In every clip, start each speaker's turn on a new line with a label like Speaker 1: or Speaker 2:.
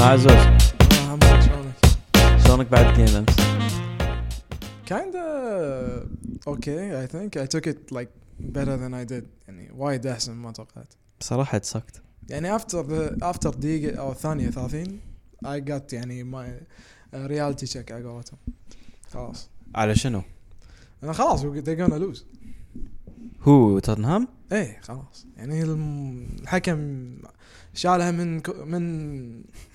Speaker 1: عزوز
Speaker 2: اهم شيء شلونك
Speaker 1: شلونك بعد جيم امس؟
Speaker 2: كايندا اوكي اي ثينك اي توك ات لايك better than I did يعني وايد احسن ما توقعت
Speaker 1: بصراحه اتسكت
Speaker 2: يعني افتر افتر دقيقة او ثانية 30 اي جت يعني ماي ريالتي تشيك على قولتهم خلاص
Speaker 1: على شنو؟
Speaker 2: انا خلاص they gonna lose
Speaker 1: هو توتنهام؟
Speaker 2: ايه خلاص يعني الم- الحكم شالها من كو- من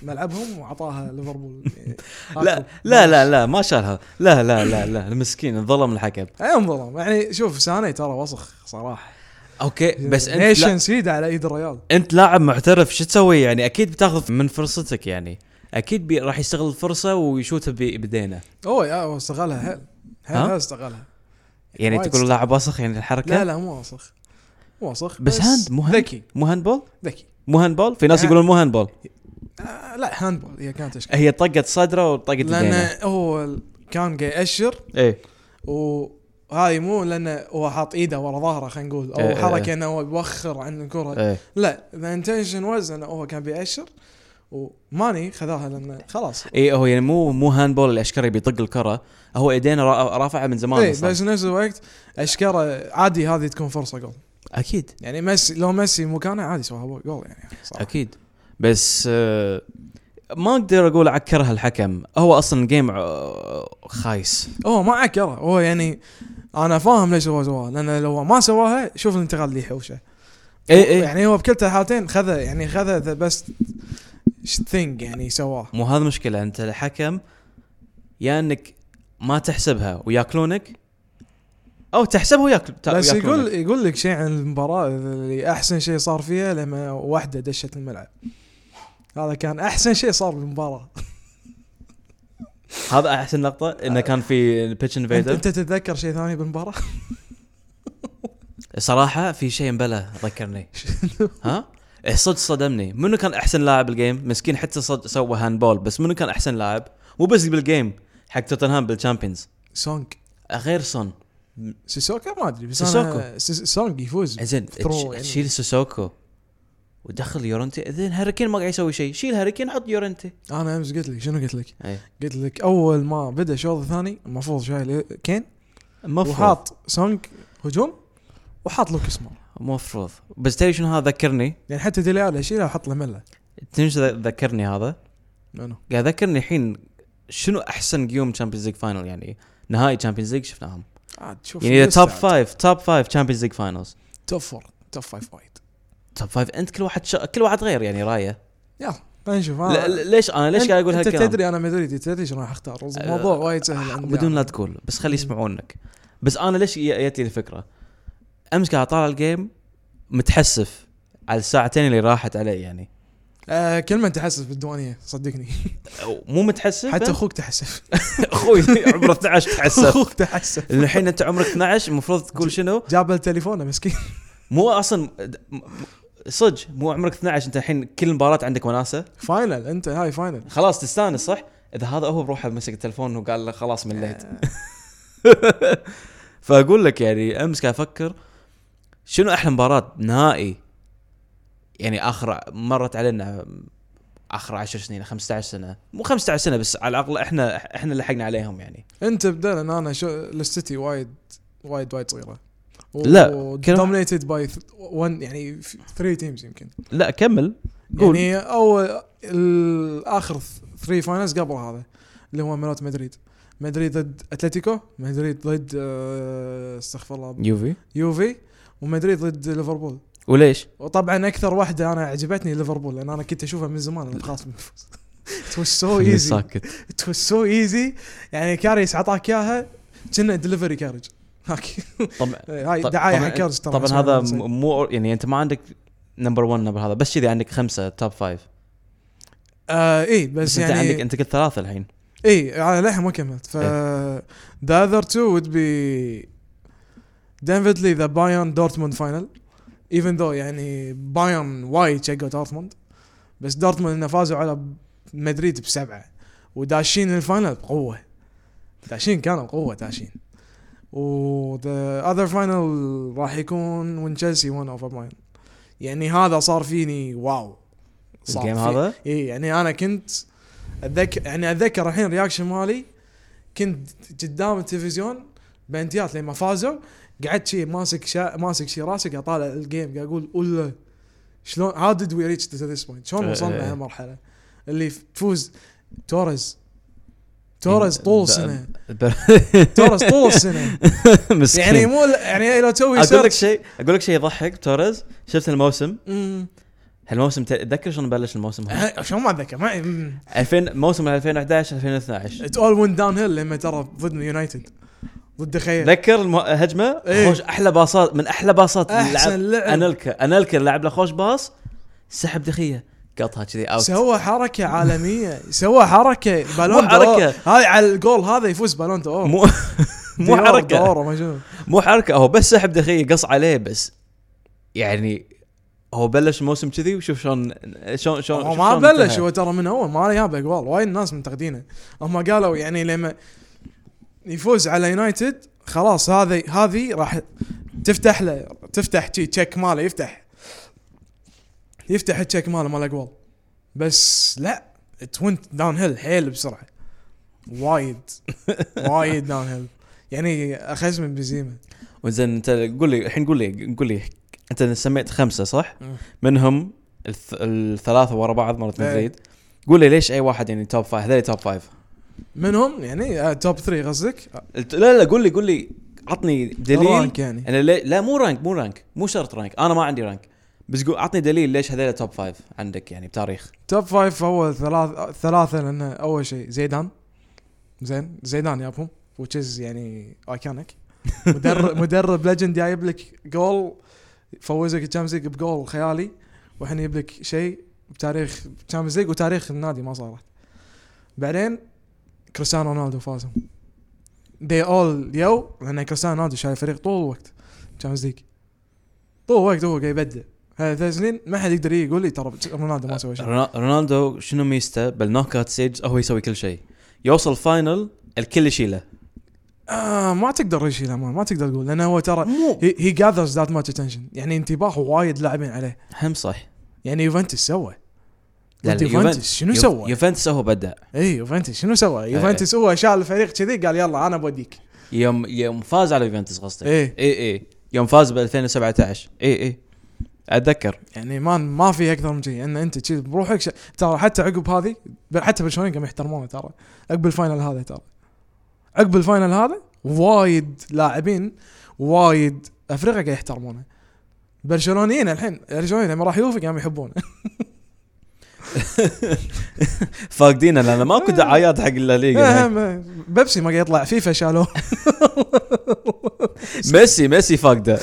Speaker 2: ملعبهم وعطاها ليفربول
Speaker 1: لا لا لا لا ما شالها لا لا لا لا المسكين انظلم الحكم
Speaker 2: اي انظلم يعني شوف ساني ترى وسخ صراحه
Speaker 1: اوكي بس انت لا
Speaker 2: نيشن سيد يعني على ايد الريال
Speaker 1: انت لاعب محترف شو تسوي يعني اكيد بتاخذ من فرصتك يعني اكيد بي راح يستغل الفرصه ويشوتها ب- بدينه
Speaker 2: اوه يا هو استغلها هل هل
Speaker 1: ها؟
Speaker 2: هل استغلها
Speaker 1: يعني
Speaker 2: وايد
Speaker 1: تقول لاعب وسخ يعني الحركه
Speaker 2: لا لا مو وسخ مو وسخ
Speaker 1: بس هاند مو هاند
Speaker 2: ذكي
Speaker 1: مو هاندبول
Speaker 2: ذكي
Speaker 1: مو هاندبول في ناس
Speaker 2: ها-
Speaker 1: يقولون مو هاندبول
Speaker 2: آه لا هاندبول هي كانت اشكال
Speaker 1: هي طقت صدره وطقت بدينه
Speaker 2: لان هو ال- كان قاعد يأشر
Speaker 1: ايه
Speaker 2: وهاي مو لانه هو حاط ايده ورا ظهره خلينا نقول
Speaker 1: إيه،
Speaker 2: او
Speaker 1: إيه، إيه.
Speaker 2: حركه انه هو يوخر عن الكره
Speaker 1: ايه
Speaker 2: لا ذا انتنشن واز انه هو كان بيأشر وماني خذاها لانه خلاص
Speaker 1: اي هو يعني مو مو هاندبول الاشكري بيطق الكره هو ايدينا را- رافعها من زمان
Speaker 2: اي
Speaker 1: اصلا
Speaker 2: إيه، بس نفس الوقت اشكره عادي هذه تكون فرصه جول
Speaker 1: اكيد
Speaker 2: يعني ميسي لو ميسي مكانه عادي سواها جول يعني صراحه
Speaker 1: اكيد بس آه، ما اقدر اقول عكرها الحكم هو اصلا جيم آه، خايس
Speaker 2: هو ما عكره هو يعني انا فاهم ليش هو سواها لان لو ما سواها شوف الانتقال اللي يحوشه
Speaker 1: اي اي
Speaker 2: يعني هو بكلتا الحالتين خذ يعني خذ ذا بيست ثينج يعني سواه
Speaker 1: مو هذا مشكله انت الحكم يا انك ما تحسبها وياكلونك او تحسبها وياكل تا-
Speaker 2: بس
Speaker 1: وياكلونك.
Speaker 2: يقول يقول لك شيء عن المباراه اللي احسن شيء صار فيها لما واحده دشت الملعب هذا كان احسن شيء صار بالمباراه
Speaker 1: هذا احسن لقطه انه كان في بيتش
Speaker 2: انت,
Speaker 1: انفيدر
Speaker 2: انت تتذكر شيء ثاني بالمباراه
Speaker 1: صراحه في شيء مبلى ذكرني ها الصدق صدمني منو كان احسن لاعب بالجيم مسكين حتى صد سوى هاندبول بس منو كان احسن لاعب مو بس بالجيم حق توتنهام بالشامبيونز
Speaker 2: سونج
Speaker 1: غير سون
Speaker 2: سيسوكا ما ادري بس أنا- س- سونج يفوز
Speaker 1: زين
Speaker 2: Throw يعني.
Speaker 1: شيل سوسوكو ودخل يورنتي زين هاريكين ما قاعد يسوي شيء شيل هاريكين حط يورنتي
Speaker 2: انا امس قلت لك شنو قلت لك؟
Speaker 1: اي
Speaker 2: قلت لك اول ما بدا شوط الثاني المفروض شايل كين
Speaker 1: المفروض
Speaker 2: وحاط سونج هجوم وحاط لوكس مور
Speaker 1: المفروض بس تدري شنو هذا ذكرني
Speaker 2: يعني حتى ديلي الي شيله وحط له مله
Speaker 1: تدري شنو ذكرني هذا
Speaker 2: منو
Speaker 1: قاعد ذكرني الحين شنو احسن قيوم تشامبيونز ليج فاينل يعني نهائي تشامبيونز ليج شفناهم
Speaker 2: عاد شوف
Speaker 1: يعني
Speaker 2: الليستة
Speaker 1: توب
Speaker 2: عاد.
Speaker 1: فايف توب فايف تشامبيونز ليج فاينلز
Speaker 2: توب فور توب فايف وايد
Speaker 1: توب فايف انت كل واحد شا... كل واحد غير يعني رايه
Speaker 2: يلا خلينا نشوف أنا-
Speaker 1: لا- لا- ليش انا ليش
Speaker 2: آه. أنت-
Speaker 1: قاعد اقول
Speaker 2: انت
Speaker 1: هالكلام
Speaker 2: تدري انا مدريدي تدري شنو راح اختار الموضوع
Speaker 1: أه،
Speaker 2: وايد سهل عندي
Speaker 1: بدون
Speaker 2: أنا.
Speaker 1: لا تقول بس خلي يسمعونك بس انا ليش جت لي الفكره امس قاعد اطالع الجيم متحسف على الساعتين اللي راحت علي يعني
Speaker 2: آه كلمه تحسف بالديوانيه صدقني
Speaker 1: أو مو متحسف
Speaker 2: حتى
Speaker 1: أنت؟
Speaker 2: اخوك تحسف
Speaker 1: اخوي عمره 12 تحسف
Speaker 2: اخوك تحسف
Speaker 1: لأن الحين انت عمرك 12 المفروض تقول شنو
Speaker 2: جاب له تليفونه مسكين
Speaker 1: مو اصلا م- صدق مو عمرك 12 انت الحين كل مباراه عندك وناسه
Speaker 2: فاينل انت هاي فاينل
Speaker 1: خلاص تستانس صح اذا هذا هو بروحه مسك التلفون وقال له خلاص مليت
Speaker 2: آه.
Speaker 1: فاقول لك يعني امس قاعد افكر شنو احلى مباراه نهائي يعني اخر مرت علينا اخر 10 سنين 15 سنه مو 15 سنه بس على الاقل احنا احنا اللي لحقنا عليهم يعني
Speaker 2: انت بدل ان انا شو لستي وايد وايد وايد صغيره
Speaker 1: لا، كلام-
Speaker 2: دومينيتد باي 1 يعني 3 تيمز يمكن
Speaker 1: لا كمل قول.
Speaker 2: قول يعني اول الاخر 3 فاينلز قبل هذا اللي هو مباراه مدريد مدريد ضد اتلتيكو مدريد ضد آه، استغفر الله
Speaker 1: يوفي
Speaker 2: يوفي ومدريد ضد ليفربول
Speaker 1: وليش؟
Speaker 2: وطبعا اكثر واحده انا عجبتني ليفربول لان انا كنت اشوفها من زمان أنا خلاص بنفوز It was so
Speaker 1: خليني
Speaker 2: easy
Speaker 1: ساكت
Speaker 2: it was so easy يعني كاريس عطاك اياها كنا دليفري كارج هاك
Speaker 1: طبعا
Speaker 2: هاي
Speaker 1: طب-
Speaker 2: دعايه
Speaker 1: طبعاً-
Speaker 2: حق كارج ترى
Speaker 1: طبعا
Speaker 2: اسمها
Speaker 1: هذا
Speaker 2: بالمناسبة.
Speaker 1: م- مو يعني انت ما عندك نمبر 1 نمبر هذا بس كذي عندك خمسه توب فايف
Speaker 2: آه اي بس,
Speaker 1: بس, انت عندك
Speaker 2: يعني
Speaker 1: انت قلت ثلاثه الحين
Speaker 2: اي انا للحين ما كملت ف the other two would be definitely the بايرن دورتموند فاينل even though يعني بايرن وايد شقوا دورتموند بس دورتموند انه فازوا على مدريد بسبعه وداشين الفاينل بقوه داشين كانوا قوه داشين و the other final راح يكون when Chelsea won over Bayern يعني هذا صار فيني واو صعب
Speaker 1: الجيم
Speaker 2: فيه.
Speaker 1: هذا
Speaker 2: اي يعني انا كنت اتذكر يعني اتذكر الحين رياكشن مالي كنت قدام التلفزيون بنتيات لما فازوا قعدت شي ماسك شا... ماسك شي راسي قاعد اطالع الجيم قاعد اقول اول شلون هاو ديد وي ريتش تو ذيس بوينت شلون
Speaker 1: إيه
Speaker 2: وصلنا
Speaker 1: إيه.
Speaker 2: هالمرحله اللي تفوز توريز توريز طول
Speaker 1: ب-
Speaker 2: سنه
Speaker 1: ب-
Speaker 2: توريز طول سنه
Speaker 1: مسكين
Speaker 2: يعني مو يعني لو
Speaker 1: اقول
Speaker 2: تسوي
Speaker 1: لك
Speaker 2: سيرش
Speaker 1: شيء اقول لك شيء يضحك توريز شفت الموسم
Speaker 2: مم.
Speaker 1: هالموسم تذكر شلون بلش الموسم هذا
Speaker 2: ه- شلون ما اتذكر ما
Speaker 1: 2000 موسم 2011 2012
Speaker 2: ات اول وين داون هيل لما ترى ضد يونايتد ضد خير
Speaker 1: تذكر المو- هجمه
Speaker 2: إيه.
Speaker 1: خوش احلى باصات من احلى باصات اللي لعب-
Speaker 2: احسن لعب
Speaker 1: انلكا انلكا لعب له خوش باص سحب دخيه قطها كذي اوت
Speaker 2: سوى حركه عالميه سوى حركه بالون
Speaker 1: مو
Speaker 2: دور
Speaker 1: حركة.
Speaker 2: هاي على الجول هذا يفوز بالون دور
Speaker 1: مو مو
Speaker 2: ديور
Speaker 1: حركه
Speaker 2: دور ما شنو
Speaker 1: مو حركه هو بس سحب دخيه قص عليه بس يعني هو بلش الموسم كذي وشوف شلون شلون شلون
Speaker 2: هو
Speaker 1: شوف
Speaker 2: ما
Speaker 1: شلون
Speaker 2: بلش
Speaker 1: انتهى.
Speaker 2: هو ترى من اول ما جاب اجوال وايد ناس منتقدينه هم قالوا يعني لما يفوز على يونايتد خلاص هذه هذه راح تفتح له تفتح شي تشيك ماله يفتح يفتح التشيك ماله مال اجوال بس لا تونت داون هيل حيل بسرعه وايد وايد داون هيل يعني اخذ من بنزيما
Speaker 1: وزين انت قول لي الحين قول لي قول لي انت سميت خمسه صح؟
Speaker 2: مم.
Speaker 1: منهم الث... الثلاثه ورا بعض مره
Speaker 2: إيه.
Speaker 1: تزيد قول لي ليش اي واحد يعني توب فايف هذول توب فايف
Speaker 2: منهم يعني آه، توب 3 قصدك
Speaker 1: الت- لا لا قول لي قول لي عطني دليل
Speaker 2: رانك يعني
Speaker 1: انا ليه لا مو رانك مو رانك مو شرط رانك انا ما عندي رانك بس قول عطني دليل ليش هذول توب فايف عندك يعني بتاريخ
Speaker 2: توب فايف اول ثلاث ثلاثه لانه اول شيء زيدان زين زيدان جابهم وتشيز يعني ايكونيك مدرب مدرب ليجند جايب لك جول فوزك الشامبيونز ليج بجول خيالي والحين يجيب لك شيء بتاريخ الشامبيونز ليج وتاريخ النادي ما صارت بعدين كريستيانو رونالدو فازهم دي اول يو لان كريستيانو رونالدو شايل الفريق طول الوقت الشامبيونز ليج طول الوقت هو قاعد يبدع هذه ثلاث سنين ما حد يقدر يجي يقول لي ترى رونالدو ما سوى شيء
Speaker 1: رونا- رونالدو شنو ميزته بالنوك اوت ستيج هو يسوي كل شيء يوصل فاينل الكل يشيله
Speaker 2: آه ما تقدر شيء الامان ما تقدر تقول لانه هو ترى
Speaker 1: مو
Speaker 2: هي جاذرز ذات ماتش اتنشن يعني انتباه وايد لاعبين عليه
Speaker 1: هم صح
Speaker 2: يعني يوفنتس سوى
Speaker 1: لا،
Speaker 2: ضد
Speaker 1: لا،
Speaker 2: يوفنتس شنو
Speaker 1: يو-
Speaker 2: سوى؟
Speaker 1: يوفنتوس هو بدع
Speaker 2: اي يوفنتس إيه، شنو سوى؟ يوفنتس هو شال الفريق كذي قال يلا انا بوديك
Speaker 1: يوم يوم فاز على يوفنتوس قصدي
Speaker 2: إيه.
Speaker 1: اي اي يوم فاز ب 2017 اي اي اتذكر
Speaker 2: يعني ما ما في اكثر من كذي ان انت كذي بروحك ش... ترى حتى عقب هذه ب- حتى برشلونه قاموا يحترمونه ترى عقب الفاينل هذا ترى عقب الفاينل هذا وايد لاعبين وايد افريقيا قاعد يحترمونه برشلونيين الحين برشلونيين لما راح يوفي قاموا يحبونه
Speaker 1: فاقدينه لان ماكو دعايات حق الليغا
Speaker 2: إيه، هم- بيبسي ما قاعد يطلع فيفا شالوه
Speaker 1: ميسي ميسي فاقده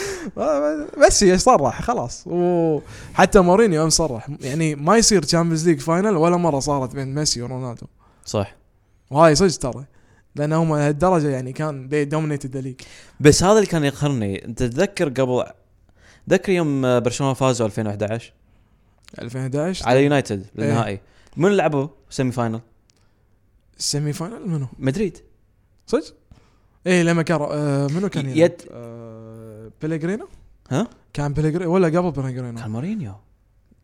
Speaker 2: ميسي صرح خلاص وحتى مورينيو امس صرح يعني ما يصير تشامبيونز ليج فاينل ولا مره صارت بين ميسي ورونالدو
Speaker 1: صح
Speaker 2: وهاي صدق ترى لان هم لهالدرجه يعني كان they dominated the league
Speaker 1: بس هذا اللي كان يقهرني انت تتذكر قبل تذكر يوم برشلونه فازوا 2011
Speaker 2: 2011
Speaker 1: على
Speaker 2: إيه.
Speaker 1: يونايتد بالنهائي من لعبوا سيمي فاينل
Speaker 2: السيمي فاينل منو؟
Speaker 1: مدريد
Speaker 2: صدق؟ ايه لما كان آه منو كان يلعب؟
Speaker 1: يد-
Speaker 2: آه بيليغرينو؟
Speaker 1: ها؟
Speaker 2: كان بيليغرينو ولا قبل بيليغرينو؟
Speaker 1: كان مورينيو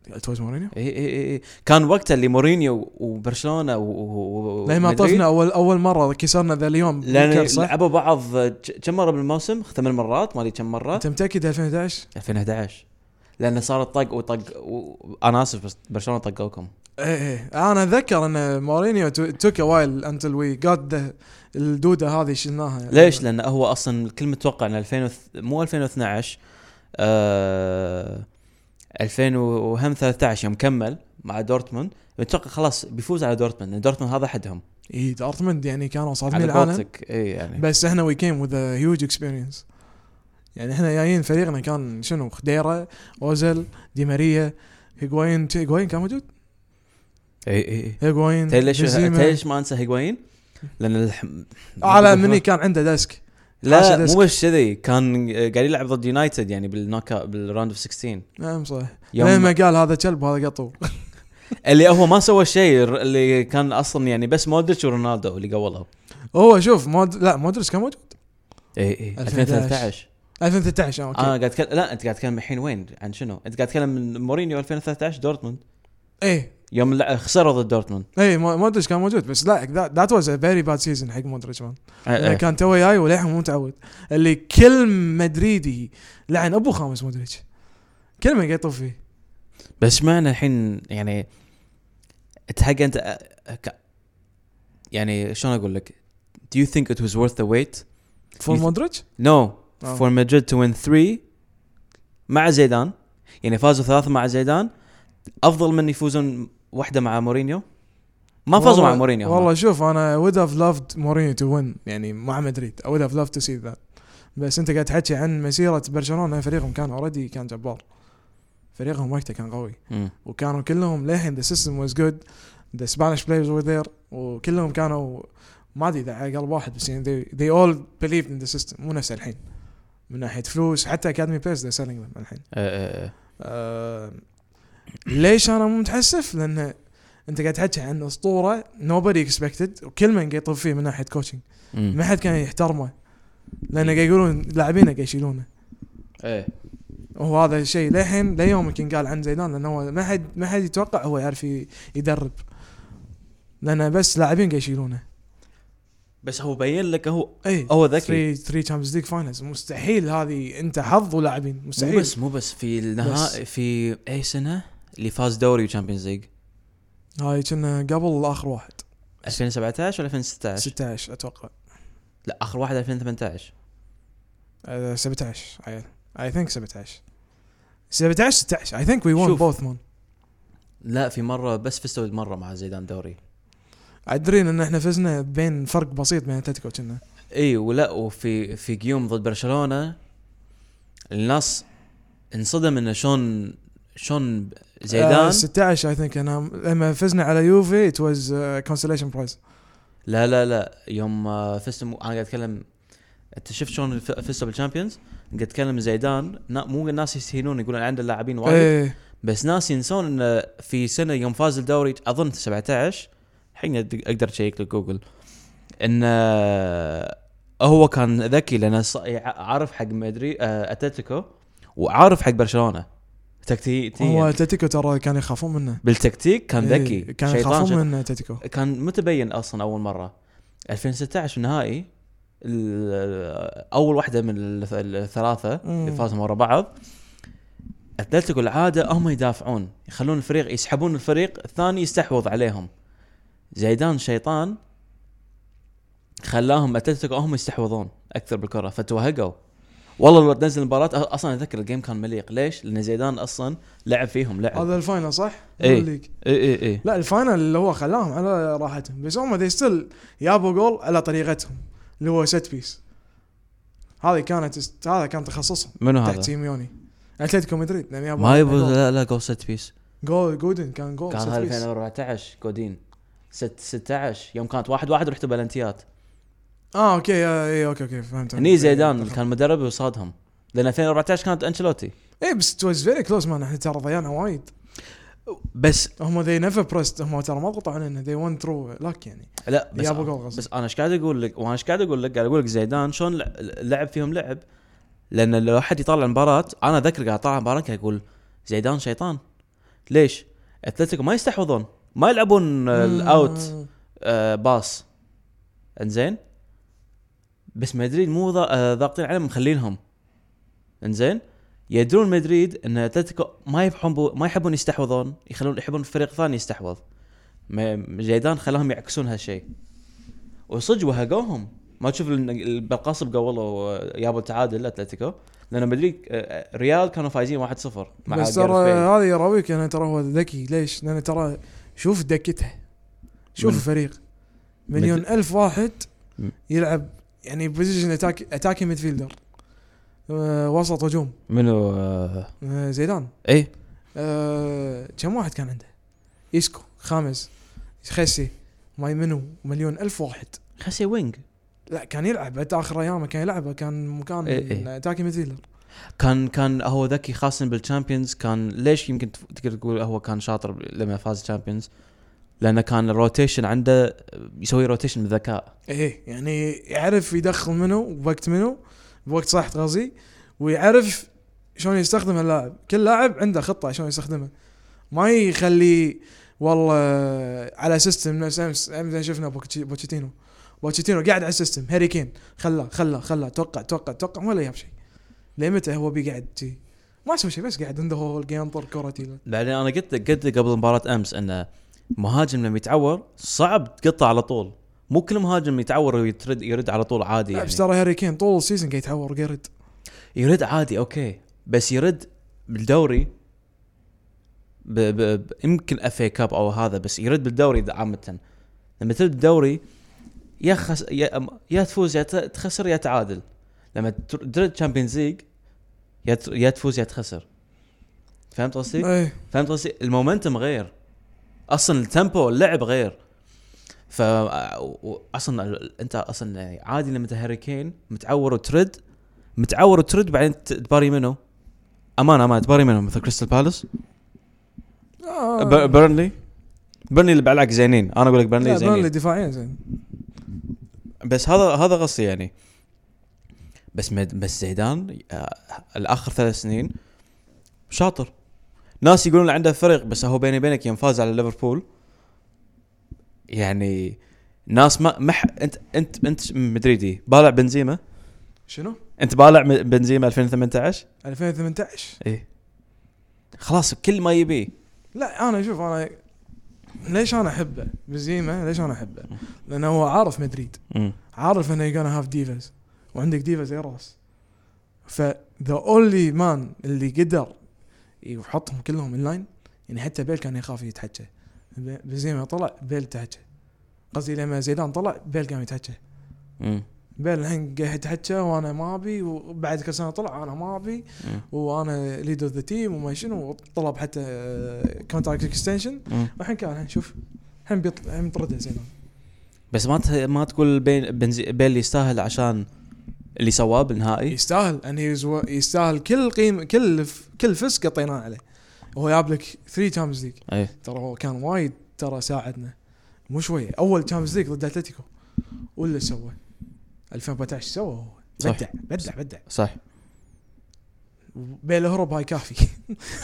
Speaker 1: إيه،
Speaker 2: توز مورينيو؟
Speaker 1: اي اي اي اي كان وقتها اللي مورينيو وبرشلونه و- و- و-
Speaker 2: لما
Speaker 1: ومدريد.
Speaker 2: طفنا اول اول مره كسرنا ذا اليوم
Speaker 1: لان
Speaker 2: بكر، صح؟
Speaker 1: لعبوا بعض ج- كم مره بالموسم؟ ثمان مرات ما ادري كم مره
Speaker 2: انت متاكد 2011
Speaker 1: 2011 لان صارت طق وطق و... انا اسف بس برشلونه طقوكم
Speaker 2: ايه ايه انا اتذكر ان مورينيو توك وايل انتل وي جاد ذا الدوده هذه شلناها يعني.
Speaker 1: ليش؟ لان هو اصلا الكل متوقع ان 2000 وث- مو 2012 آه... 2013 يوم كمل مع دورتموند متوقع خلاص بيفوز على دورتموند لان دورتموند هذا حدهم
Speaker 2: اي دورتموند يعني كانوا صادمين
Speaker 1: على
Speaker 2: العالم
Speaker 1: البالتيك اي يعني
Speaker 2: بس احنا وي كيم وذ هيوج اكسبيرينس يعني احنا جايين فريقنا كان شنو خديره اوزل دي ماريا هيغوين هيغوين كان موجود؟
Speaker 1: اي اي اي
Speaker 2: هيغوين
Speaker 1: تدري ليش
Speaker 2: بنزيما.
Speaker 1: تدري ليش ما انسى هيغوين؟ لان الح...
Speaker 2: على مني كان عنده ديسك
Speaker 1: لا
Speaker 2: حاشد
Speaker 1: مو
Speaker 2: اسك.
Speaker 1: بس كذي كان قاعد يلعب ضد يونايتد يعني بالنوك بالراوند اوف 16
Speaker 2: نعم صح لما
Speaker 1: يوم
Speaker 2: قال هذا كلب وهذا قطو
Speaker 1: اللي هو ما سوى شيء الر- اللي كان اصلا يعني بس مودريتش ورونالدو اللي قولوا
Speaker 2: هو شوف مود لا مودريتش كان موجود
Speaker 1: اي اي
Speaker 2: 2013.
Speaker 1: 2013
Speaker 2: 2013 آه،
Speaker 1: انا
Speaker 2: اوكي
Speaker 1: قاعد اتكلم لا انت قاعد تتكلم الحين وين عن شنو؟ انت قاعد تتكلم من مورينيو 2013 دورتموند
Speaker 2: ايه
Speaker 1: يوم لع- خسروا ضد دورتموند
Speaker 2: ايه ما- مودريتش كان موجود بس لا ذات واز ا فيري باد سيزون حق مودريتش مان
Speaker 1: آه،
Speaker 2: لأنه
Speaker 1: آه.
Speaker 2: كان تو جاي وللحين مو متعود اللي كل مدريدي لعن ابو خامس مودريتش كلمه يطوف فيه
Speaker 1: بس معنى الحين يعني تحق انت آه، ك- يعني شلون اقول لك Do you think it was worth the wait?
Speaker 2: فول
Speaker 1: يث-
Speaker 2: مودريتش
Speaker 1: No.
Speaker 2: آه.
Speaker 1: For Madrid to win 3 مع زيدان يعني فازوا ثلاثة مع زيدان أفضل من يفوزون واحدة مع مورينيو ما فازوا
Speaker 2: والله-
Speaker 1: مع مورينيو هم.
Speaker 2: والله شوف انا would have loved مورينيو تو وين يعني مع مدريد I would have loved to see that بس انت قاعد تحكي عن مسيره برشلونه فريقهم كان اوريدي كان جبار فريقهم وقته كان قوي
Speaker 1: مم.
Speaker 2: وكانوا كلهم للحين ذا سيستم واز جود ذا سبانيش بلايرز were there وكلهم كانوا ما ادري اذا على قلب واحد بس يعني they, they all believed in the system مو نفس الحين من ناحيه فلوس حتى اكاديمي بلايرز they're selling them الحين
Speaker 1: آه، آه، آه.
Speaker 2: آه، ليش انا مو متحسف؟ لان انت قاعد تحكي عن اسطوره nobody expected وكل من قاعد يطب فيه من ناحيه كوتشنج
Speaker 1: مم.
Speaker 2: ما حد كان يحترمه لانه قاعد يقولون لاعبينه قاعد يشيلونه
Speaker 1: ايه
Speaker 2: وهذا الشيء للحين ليومك ينقال عن زيدان لانه هو ما حد ما حد يتوقع هو يعرف ي- يدرب لانه بس لاعبين قاعد يشيلونه إيه.
Speaker 1: بس هو بين لك هو
Speaker 2: اي
Speaker 1: هو ذكي
Speaker 2: 3 3 تشامبيونز ليج فاينلز مستحيل هذه انت حظ ولاعبين
Speaker 1: مو
Speaker 2: مستحيل
Speaker 1: بس مو بس في النهائي في اي سنه اللي فاز دوري وشامبيونز ليج
Speaker 2: هاي كنا قبل اخر واحد
Speaker 1: 2017 ولا 2016
Speaker 2: 16 اتوقع
Speaker 1: لا اخر واحد 2018
Speaker 2: آه، 17 اي ثينك 17 17 16 اي ثينك وي ون
Speaker 1: شوف.
Speaker 2: بوث مان
Speaker 1: لا في مره بس فزتوا مره مع زيدان دوري
Speaker 2: ادرين ان احنا فزنا بين فرق بسيط بين اتلتيكو كنا
Speaker 1: اي إيه، ولا وفي في جيوم ضد برشلونه الناس انصدم انه شلون شلون
Speaker 2: آه،
Speaker 1: زيدان
Speaker 2: 16 اي ثينك انا لما فزنا على يوفي آه، ات واز كونسليشن برايز
Speaker 1: لا لا لا يوم آه، فزتوا مو- انا قاعد اتكلم انت شفت شلون الف- فزتوا بالشامبيونز قاعد اتكلم زيدان نا- مو الناس يستهينون يقولون عنده لاعبين وايد
Speaker 2: ايه
Speaker 1: بس ناس ينسون انه في سنه يوم فاز الدوري اظن 17 الحين أد- اقدر اشيك لك جوجل انه هو كان ذكي لانه ص- يع- عارف حق مدري آه، اتلتيكو وعارف حق برشلونه
Speaker 2: هو
Speaker 1: تكتيكيا
Speaker 2: اتلتيكو ترى كانوا يخافون منه
Speaker 1: بالتكتيك كان
Speaker 2: إيه،
Speaker 1: ذكي
Speaker 2: كانوا
Speaker 1: شيطان
Speaker 2: يخافون
Speaker 1: شيطان
Speaker 2: منه اتلتيكو
Speaker 1: كان متبين اصلا اول مره 2016 نهائي ال- اول واحده من الث- الثلاثه اللي
Speaker 2: مم.
Speaker 1: فازوا ورا بعض اتلتيكو العاده هم يدافعون يخلون الفريق يسحبون الفريق الثاني يستحوذ عليهم زيدان شيطان خلاهم اتلتيكو هم يستحوذون اكثر بالكره فتوهقوا والله لو تنزل المباراه أ- اصلا اتذكر الجيم كان مليق ليش؟ لان زيدان اصلا لعب فيهم لعب
Speaker 2: هذا الفاينل صح؟
Speaker 1: إيه.
Speaker 2: الليج.
Speaker 1: اي اي اي
Speaker 2: لا الفاينل اللي هو خلاهم على راحتهم بس هم ذي ستيل جابوا جول على طريقتهم اللي هو ست بيس هذه كانت هذا كان تخصصهم
Speaker 1: منو
Speaker 2: تحت
Speaker 1: هذا؟
Speaker 2: سيميوني اتلتيكو مدريد لان يابا
Speaker 1: ما يبغى لا لا جول ست بيس
Speaker 2: جول جودن كان جول
Speaker 1: كان
Speaker 2: set
Speaker 1: هذا
Speaker 2: piece.
Speaker 1: 2014 كودين ست 16 يوم كانت واحد واحد رحتوا بلنتيات
Speaker 2: اه اوكي آه، اي اوكي اوكي فهمت
Speaker 1: هني يعني إيه، زيدان كان مدرب وصادهم لان 2014 كانت انشلوتي
Speaker 2: اي إيه، بس ات واز فيري كلوز مان احنا ترى ضيعنا وايد
Speaker 1: بس
Speaker 2: هم ذي نيفر بريست هم ترى ما ضغطوا علينا ذي ون ثرو لك يعني
Speaker 1: لا بس
Speaker 2: يابا جول غصب
Speaker 1: بس انا ايش قاعد اقول لك وانا ايش قاعد اقول لك قاعد اقول لك زيدان شلون لع- لعب فيهم لعب لان لو احد يطالع المباراه انا اذكر قاعد اطالع المباراه كان اقول زيدان شيطان ليش؟ اتلتيكو ما يستحوذون ما يلعبون آه، الاوت
Speaker 2: مم.
Speaker 1: آه باص انزين بس مدريد مو ضا- آه، ضاغطين عليهم مخلينهم انزين يدرون مدريد ان اتلتيكو ما يحبون ما يحبون يستحوذون يخلون يحبون فريق ثاني يستحوذ ما- زيدان خلاهم يعكسون هالشيء وصدق وهقوهم ما تشوف ال- البلقاسب قولوا آه، جابوا تعادل اتلتيكو لان مدريد آه، ريال كانوا فايزين 1-0 مع جاريث
Speaker 2: بس ترى
Speaker 1: بيل.
Speaker 2: هذا يراويك انه ترى هو ذكي ليش؟ لان ترى شوف دكته شوف
Speaker 1: من-
Speaker 2: الفريق مليون الف واحد
Speaker 1: مم.
Speaker 2: يلعب يعني بوزيشن اتاك اتاكي ميدفيلدر آه، وسط هجوم
Speaker 1: منو آه،
Speaker 2: آه، زيدان
Speaker 1: ايه
Speaker 2: آه، كم واحد كان عنده؟ ايسكو خامس خسي مايمنو مليون الف واحد
Speaker 1: خسي وينج
Speaker 2: لا كان يلعب حتى اخر ايامه كان يلعبه كان مكان
Speaker 1: إيه، إيه.
Speaker 2: تاكي ميدفيلدر
Speaker 1: كان كان هو ذكي خاصه بالشامبيونز كان ليش يمكن تف- تقدر تقول هو كان شاطر ب- لما فاز الشامبيونز لانه كان الروتيشن عنده يسوي روتيشن بذكاء
Speaker 2: ايه يعني يعرف يدخل منه بوقت منه بوقت صح قصدي ويعرف شلون يستخدم اللاعب كل لاعب عنده خطه شلون يستخدمه ما يخلي والله على سيستم نفس امس امس شفنا بوكتشي- بوتشيتينو بوتشيتينو قاعد على السيستم هاري كين خلاه خلاه خلاه توقع توقع توقع ولا جاب شيء لمتى هو بيقعد جي ما سوى شيء بس قاعد عنده هو ينطر كره تيلا
Speaker 1: بعدين انا قلت قلت لك قبل مباراه امس ان مهاجم لما يتعور صعب تقطع على طول مو كل مهاجم يتعور ويترد يرد على طول عادي
Speaker 2: لا،
Speaker 1: يعني
Speaker 2: بس ترى هاري كين طول السيزون قاعد يتعور قرد
Speaker 1: يرد عادي اوكي بس يرد بالدوري ب... ب... ب... يمكن اف كاب او هذا بس يرد بالدوري ده عامه لما ترد بالدوري يا خس... يا... يا تفوز يا ت... تخسر يا تعادل لما تر- ترد تشامبيونز ليج يا ت... يا تفوز يا تخسر فهمت قصدي؟
Speaker 2: ايه
Speaker 1: فهمت قصدي؟ المومنتم غير اصلا التمبو اللعب غير ف و- اصلا ال- انت اصلا يعني عادي لما أنت هاري كين متعور وترد متعور وترد بعدين ت- تباري منه امانه امانه تباري منه مثل كريستال بالاس
Speaker 2: آه.
Speaker 1: ب- بيرنلي بيرنلي اللي بعلاك زينين انا اقول لك بيرنلي
Speaker 2: لا
Speaker 1: زينين
Speaker 2: بيرنلي دفاعيا زين
Speaker 1: بس هذا هذا قصدي يعني بس مد بس زيدان آه، الاخر ثلاث سنين شاطر ناس يقولون عنده فرق بس هو بيني بينك يوم فاز على ليفربول يعني ناس ما مح انت انت انت مدريدي بالع بنزيما
Speaker 2: شنو؟
Speaker 1: انت بالع م- بنزيما 2018
Speaker 2: 2018
Speaker 1: ايه خلاص كل ما يبيه
Speaker 2: لا انا شوف انا ليش انا احبه؟ بنزيما ليش انا احبه؟ لانه هو عارف مدريد
Speaker 1: مم.
Speaker 2: عارف انه يقانا هاف ديفز وعندك ديفز يا راس فذا اونلي مان اللي قدر يحطهم كلهم اللاين يعني حتى بيل كان يخاف يتحكى ب- بنزيما طلع بيل تحكى قصدي لما زيدان طلع بيل قام يتحكى
Speaker 1: مم.
Speaker 2: بيل الحين قاعد يتحكى وانا ما ابي وبعد كريستيانو طلع انا ما ابي
Speaker 1: مم.
Speaker 2: وانا ليد اوف ذا تيم وما شنو طلب حتى آه، كونتراكت اكستنشن
Speaker 1: مم.
Speaker 2: الحين كان الحين شوف الحين بيطلع الحين بيطرده زيدان
Speaker 1: بس ما ت- ما تقول بين بنزي بيل يستاهل عشان اللي سواه بالنهائي
Speaker 2: يستاهل ان هيز يستاهل كل قيمه كل ف- كل فس قطيناه عليه هو جاب لك 3 تشامبيونز ليج
Speaker 1: ايه
Speaker 2: ترى هو كان وايد ترى ساعدنا مو شويه اول تشامبيونز ليج ضد اتلتيكو ولا سوى 2014 سوى هو
Speaker 1: صح.
Speaker 2: بدع بدع بدع
Speaker 1: صح
Speaker 2: بيل هرب هاي كافي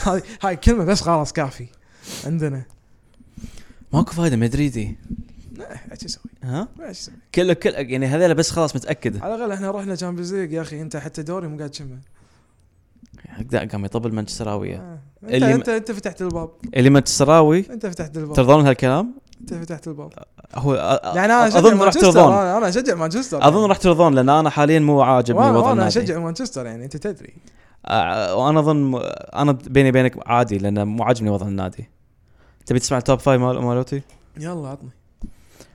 Speaker 2: هاي هاي كلمه بس خلاص كافي عندنا
Speaker 1: ماكو فايده مدريدي
Speaker 2: لا، ايش اسوي؟
Speaker 1: ها
Speaker 2: ما ايش اسوي؟
Speaker 1: كله كل يعني هذول بس خلاص متاكد
Speaker 2: على الاقل احنا رحنا تشامبيونز ليج يا اخي انت حتى دوري مو قاعد تشمه
Speaker 1: هكذا قام يطبل مانشستراويه
Speaker 2: آه. انت
Speaker 1: اللي م-
Speaker 2: انت انت فتحت الباب
Speaker 1: اللي مانشستراوي
Speaker 2: انت فتحت الباب
Speaker 1: ترضون هالكلام
Speaker 2: انت فتحت الباب
Speaker 1: هو أ- أ-
Speaker 2: يعني انا اشجع
Speaker 1: اظن راح
Speaker 2: مانشستر
Speaker 1: ترضون
Speaker 2: انا أنا اشجع مانشستر
Speaker 1: اظن راح ترضون لان انا حاليا مو عاجبني
Speaker 2: وضع
Speaker 1: وضع
Speaker 2: انا
Speaker 1: النادي
Speaker 2: اشجع مانشستر يعني انت تدري
Speaker 1: أ- وانا اظن م- انا بيني بينك عادي لان مو عاجبني وضع النادي تبي تسمع التوب فايف مال- مالوتي
Speaker 2: يلا عطني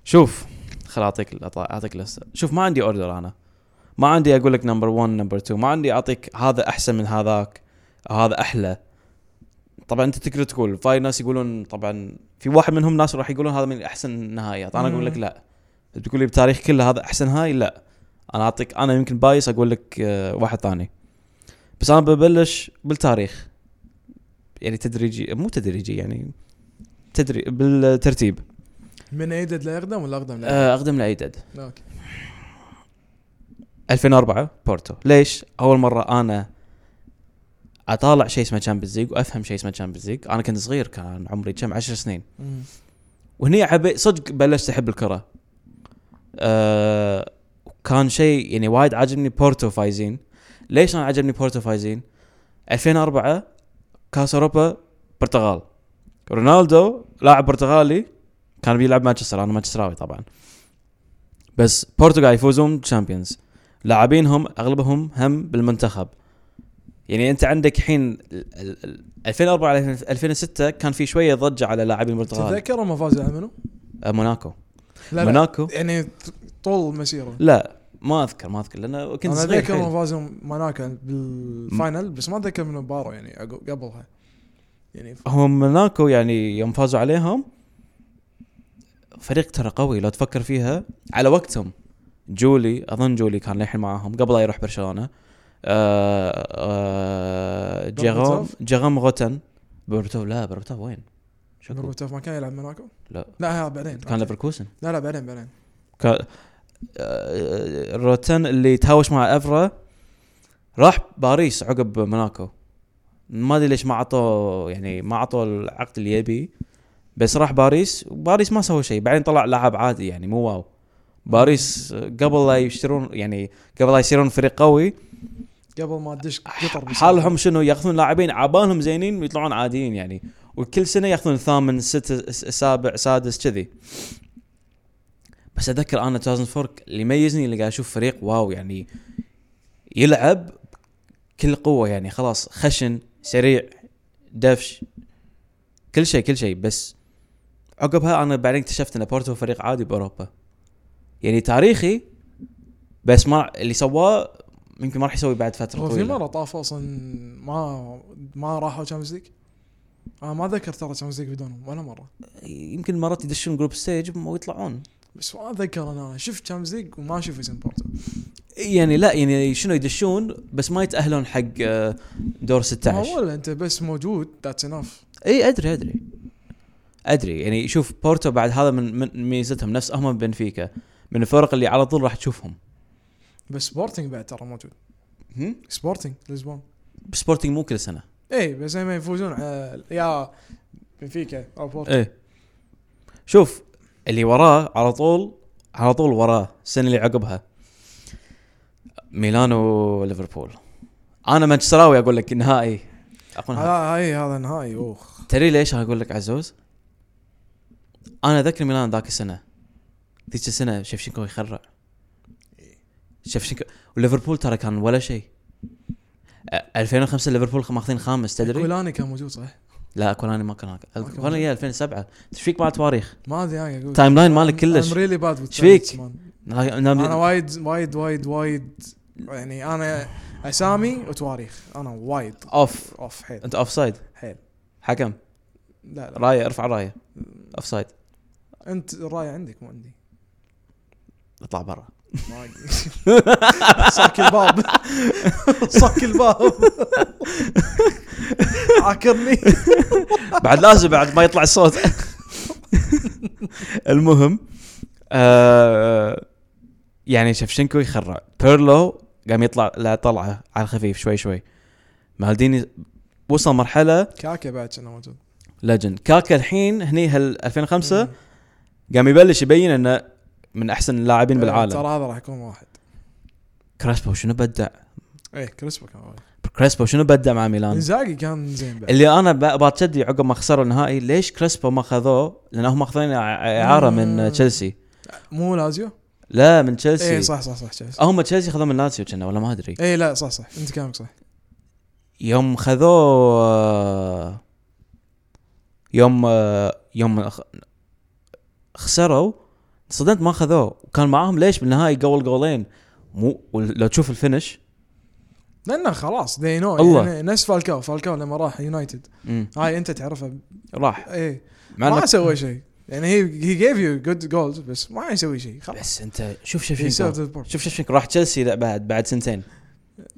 Speaker 1: شوف خل اعطيك ال- أط- اعطيك لسه شوف ما عندي اوردر انا ما عندي اقول لك نمبر 1 نمبر 2 ما عندي اعطيك هذا احسن من هذاك هذا احلى طبعا انت تقدر تقول فاي ناس يقولون طبعا في واحد منهم ناس راح يقولون هذا من احسن النهائيات انا اقول لك
Speaker 2: مم.
Speaker 1: لا تقول لي بتاريخ كله هذا احسن هاي لا انا اعطيك انا يمكن بايس اقول لك آه، واحد ثاني بس انا ببلش بالتاريخ يعني تدريجي مو تدريجي يعني تدري بالترتيب
Speaker 2: من ايدد لاقدم ولا اقدم لا
Speaker 1: آه، اقدم العيدد
Speaker 2: اوكي
Speaker 1: 2004 بورتو ليش اول مره انا اطالع شيء اسمه تشامبيونز ليج وافهم شيء اسمه تشامبيونز ليج انا كنت صغير كان عمري كم 10 سنين
Speaker 2: مم.
Speaker 1: وهني عبي صدق بلشت احب الكره أه كان شيء يعني وايد عاجبني بورتو فايزين ليش انا عجبني بورتو فايزين 2004 كاس اوروبا برتغال رونالدو لاعب برتغالي كان بيلعب مانشستر انا مانشستراوي طبعا بس بورتو قاعد يفوزون تشامبيونز لاعبينهم اغلبهم هم بالمنتخب يعني انت عندك الحين ال- ال- ال- 2004 2006 كان في شويه ضجه على لاعبين البرتغال
Speaker 2: تتذكر ما فاز على منو؟
Speaker 1: أه، موناكو
Speaker 2: لا لا
Speaker 1: موناكو
Speaker 2: يعني ت- طول مسيره
Speaker 1: لا ما اذكر ما اذكر لان كنت
Speaker 2: انا
Speaker 1: صغير
Speaker 2: اتذكر ما
Speaker 1: حيل.
Speaker 2: فاز موناكو بالفاينل بس ما اتذكر منو بارو يعني عقب- قبلها يعني ف-
Speaker 1: هم موناكو يعني يوم فازوا عليهم فريق ترى قوي لو تفكر فيها على وقتهم جولي اظن جولي كان للحين معاهم قبل لا يروح برشلونه آه آه جيغوم
Speaker 2: بيرتوف؟
Speaker 1: جيغوم غوتن بيرتوف لا بيرتوف وين؟ شكو
Speaker 2: نوربوتوف ما كان يلعب موناكو؟
Speaker 1: لا
Speaker 2: لا ها بعدين
Speaker 1: كان ليفركوزن
Speaker 2: لا لا بعدين بعدين
Speaker 1: كان آه، روتن اللي تهاوش مع افرا راح باريس عقب موناكو ما ادري ليش ما عطوه يعني ما عطوه العقد اللي يبي بس راح باريس وباريس ما سوى شيء بعدين طلع لاعب عادي يعني مو واو باريس قبل لا يشترون يعني قبل لا يصيرون فريق قوي
Speaker 2: قبل ما تدش قطر بس.
Speaker 1: حالهم شنو ياخذون لاعبين عبالهم زينين ويطلعون عاديين يعني وكل سنه ياخذون ثامن ست سابع سادس كذي بس اذكر انا 2004 اللي يميزني اللي قاعد اشوف فريق واو يعني يلعب كل قوه يعني خلاص خشن سريع دفش كل شيء كل شيء بس عقبها انا بعدين اكتشفت ان بورتو فريق عادي باوروبا يعني تاريخي بس ما اللي سواه يمكن ما راح يسوي بعد فتره
Speaker 2: هو في
Speaker 1: طويله
Speaker 2: مره طاف اصلا ما ما راحوا تشامبيونز ليج انا ما ذكر ترى تشامبيونز ليج بدونهم ولا مره
Speaker 1: يمكن مرات يدشون جروب ستيج ويطلعون
Speaker 2: بس ما اتذكر انا شفت تشامبيونز ليج وما اشوف اسم بورتو
Speaker 1: يعني لا يعني شنو يدشون بس ما يتاهلون حق آه، دور
Speaker 2: ما
Speaker 1: 16
Speaker 2: هو ولا انت بس موجود ذاتس انف
Speaker 1: اي ادري ادري ادري يعني شوف بورتو بعد هذا من, من ميزتهم نفس هم بنفيكا من الفرق اللي على طول راح تشوفهم
Speaker 2: بس سبورتنج بعد ترى موجود سبورتنج لشبونه
Speaker 1: سبورتنج مو كل سنه
Speaker 2: اي إيه، بس لما يفوزون على يا بنفيكا او بورتو
Speaker 1: ايه شوف اللي وراه على طول على طول وراه السنه اللي عقبها ميلان وليفربول انا مانشستراوي اقول لك نهائي اقول نهائي.
Speaker 2: هذا- هاي هذا نهائي اوخ
Speaker 1: تدري ليش اقول لك عزوز؟ انا اذكر ميلان ذاك السنه ذيك السنه شفشنكو يخرع شفشنكو وليفربول ترى كان ولا شيء أ- 2005 ليفربول ماخذين خامس تدري؟
Speaker 2: كولاني كان موجود صح؟
Speaker 1: لا كولاني ما كان هناك
Speaker 2: ما كان
Speaker 1: كولاني جاي 2007 ايش فيك مع تواريخ؟
Speaker 2: ما ادري انا اقول
Speaker 1: تايم لاين مالك كلش
Speaker 2: I'm really bad with
Speaker 1: إيش فيك؟
Speaker 2: dates, man.
Speaker 1: لا-
Speaker 2: انا
Speaker 1: لا-
Speaker 2: وايد وايد وايد وايد يعني انا اسامي وتواريخ انا وايد
Speaker 1: اوف
Speaker 2: اوف حيل
Speaker 1: انت اوف سايد
Speaker 2: حيل
Speaker 1: حكم
Speaker 2: لا لا
Speaker 1: رايه ارفع رايه اوف سايد
Speaker 2: انت الراي عندك مو عندي
Speaker 1: اطلع برا
Speaker 2: ما أدري. صك الباب صك الباب عاكرني
Speaker 1: بعد لازم بعد ما يطلع الصوت المهم آه يعني شفشنكو يخرع بيرلو قام يطلع لا طلعه على الخفيف شوي شوي مالديني وصل مرحله
Speaker 2: كاكا بعد كان موجود إيه.
Speaker 1: ليجند كاكا الحين هني هال 2005 قام يبلش يبين انه من احسن اللاعبين بالعالم
Speaker 2: ترى هذا راح يكون واحد
Speaker 1: كريسبو شنو بدع
Speaker 2: ايه كريسبو كان واحد
Speaker 1: كريسبو شنو بدع مع ميلان
Speaker 2: انزاجي كان زين بعد
Speaker 1: اللي انا ب- باتشدي عقب ما خسروا النهائي ليش كريسبو ما خذوه؟ لانهم ماخذين اعاره
Speaker 2: مم.
Speaker 1: من تشيلسي
Speaker 2: مو لازيو؟
Speaker 1: لا من تشيلسي
Speaker 2: ايه
Speaker 1: إيه، صح
Speaker 2: صح صح صح تشيلسي.
Speaker 1: هم تشيلسي خذوه من لاتسيو كنا ولا ما ادري
Speaker 2: ايه لا صح صح انت كلامك صح
Speaker 1: يوم خذوه آه، يوم آه، يوم خ- خسروا صدمت ما خذوه وكان معاهم ليش بالنهائي قول جولين مو لو تشوف الفينش
Speaker 2: لانه خلاص ذي نو
Speaker 1: الله.
Speaker 2: يعني نفس فالكاو فالكاو لما راح يونايتد
Speaker 1: مم.
Speaker 2: هاي انت تعرفها
Speaker 1: راح
Speaker 2: ايه
Speaker 1: مع
Speaker 2: ما
Speaker 1: إنه-
Speaker 2: سوى شيء يعني هي هي جيف يو جود جولز بس ما يسوي شيء خلاص
Speaker 1: بس انت شوف
Speaker 2: He served
Speaker 1: شفشنكو
Speaker 2: the purpose.
Speaker 1: شوف شفشنكو راح تشيلسي لا بعد بعد سنتين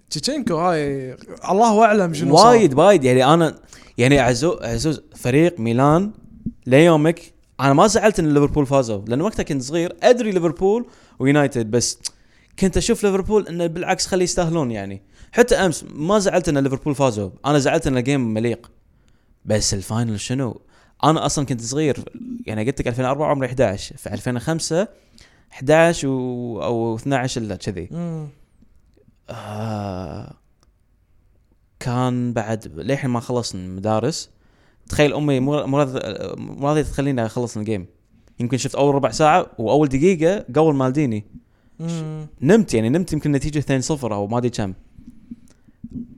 Speaker 2: تشيتشينكو هاي الله اعلم شنو صار.
Speaker 1: وايد وايد يعني انا يعني عزو عزوز فريق ميلان ليومك انا ما زعلت ان ليفربول فازوا لان وقتها كنت صغير ادري ليفربول ويونايتد بس كنت اشوف ليفربول انه بالعكس خليه يستاهلون يعني حتى امس ما زعلت ان ليفربول فازوا انا زعلت ان الجيم مليق بس الفاينل شنو انا اصلا كنت صغير يعني قلت لك 2004 عمري 11 في 2005 11 و... او 12 الا كذي
Speaker 2: مم.
Speaker 1: آه، كان بعد للحين ما خلصنا المدارس تخيل امي مو مو راضي- مو راضيه تخليني اخلص الجيم يمكن شفت اول ربع ساعه واول دقيقه قبل مالديني
Speaker 2: مم.
Speaker 1: نمت يعني نمت يمكن نتيجه 2-0 او ما ادري كم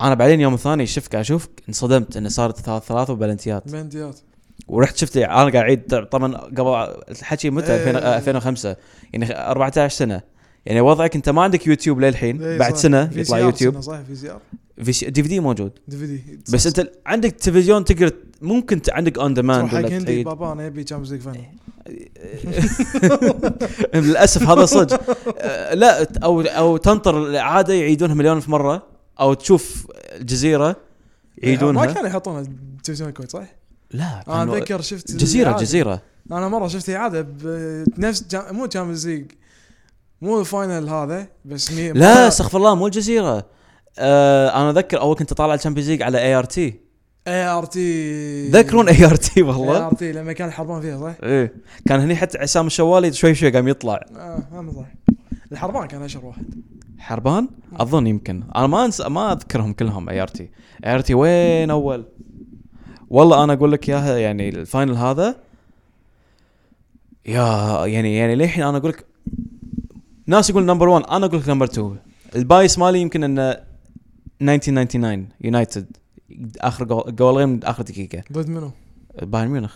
Speaker 1: انا بعدين يوم الثاني شفت قاعد اشوف انصدمت انه صارت ثلاث ثلاث وبلنتيات
Speaker 2: بنديات
Speaker 1: ورحت شفت انا قاعد اعيد طبعا قبل الحكي متى
Speaker 2: إيه.
Speaker 1: 2000 آه، 2005 يعني 14 سنه يعني وضعك انت ما عندك يوتيوب للحين
Speaker 2: إيه،
Speaker 1: بعد
Speaker 2: صح.
Speaker 1: سنه
Speaker 2: في
Speaker 1: يطلع
Speaker 2: سي آر
Speaker 1: يوتيوب
Speaker 2: سنة، صح في زي ار
Speaker 1: في شي- دي في دي موجود
Speaker 2: دي في دي
Speaker 1: بس انت عندك تلفزيون تقدر ت- ممكن ت- عندك اون ديماند
Speaker 2: تروح حق
Speaker 1: ولا
Speaker 2: هندي
Speaker 1: تعيد
Speaker 2: بابا انا ابي تشامبيونز ليج فاينل
Speaker 1: للاسف هذا صدق آه، لا ت- او او تنطر الاعاده يعيدونها مليون في مره او تشوف الجزيره إيه.
Speaker 2: ما
Speaker 1: يعيدونها
Speaker 2: كانوا يحطون تلفزيون الكويت صح؟
Speaker 1: لا
Speaker 2: انا
Speaker 1: كانوا-
Speaker 2: اتذكر شفت
Speaker 1: جزيره
Speaker 2: الإعادة.
Speaker 1: جزيره
Speaker 2: انا مره شفت اعاده بنفس جا... مو تشامبيونز ليج مو الفاينل هذا بس مي...
Speaker 1: لا استغفر الله مو الجزيره آه، انا اذكر اول كنت اطالع الشامبيونز ليج على اي ار تي
Speaker 2: اي ار تي
Speaker 1: تذكرون اي ار تي
Speaker 2: اي
Speaker 1: والله
Speaker 2: ار تي إيه، لما كان الحربان فيها صح؟
Speaker 1: ايه كان هني حتى عصام الشوالي شوي شوي قام يطلع
Speaker 2: اه هم صح الحربان كان اشهر واحد
Speaker 1: حربان اظن يمكن انا ما أنس... ما اذكرهم كلهم اي ار تي اي ار تي وين اول والله انا اقول لك اياها يعني الفاينل هذا يا يعني يعني للحين انا اقول لك ناس يقول نمبر 1 انا اقول لك نمبر 2 البايس مالي يمكن انه 1999 يونايتد اخر جول جولين من اخر دقيقه
Speaker 2: ضد منو؟
Speaker 1: بايرن ميونخ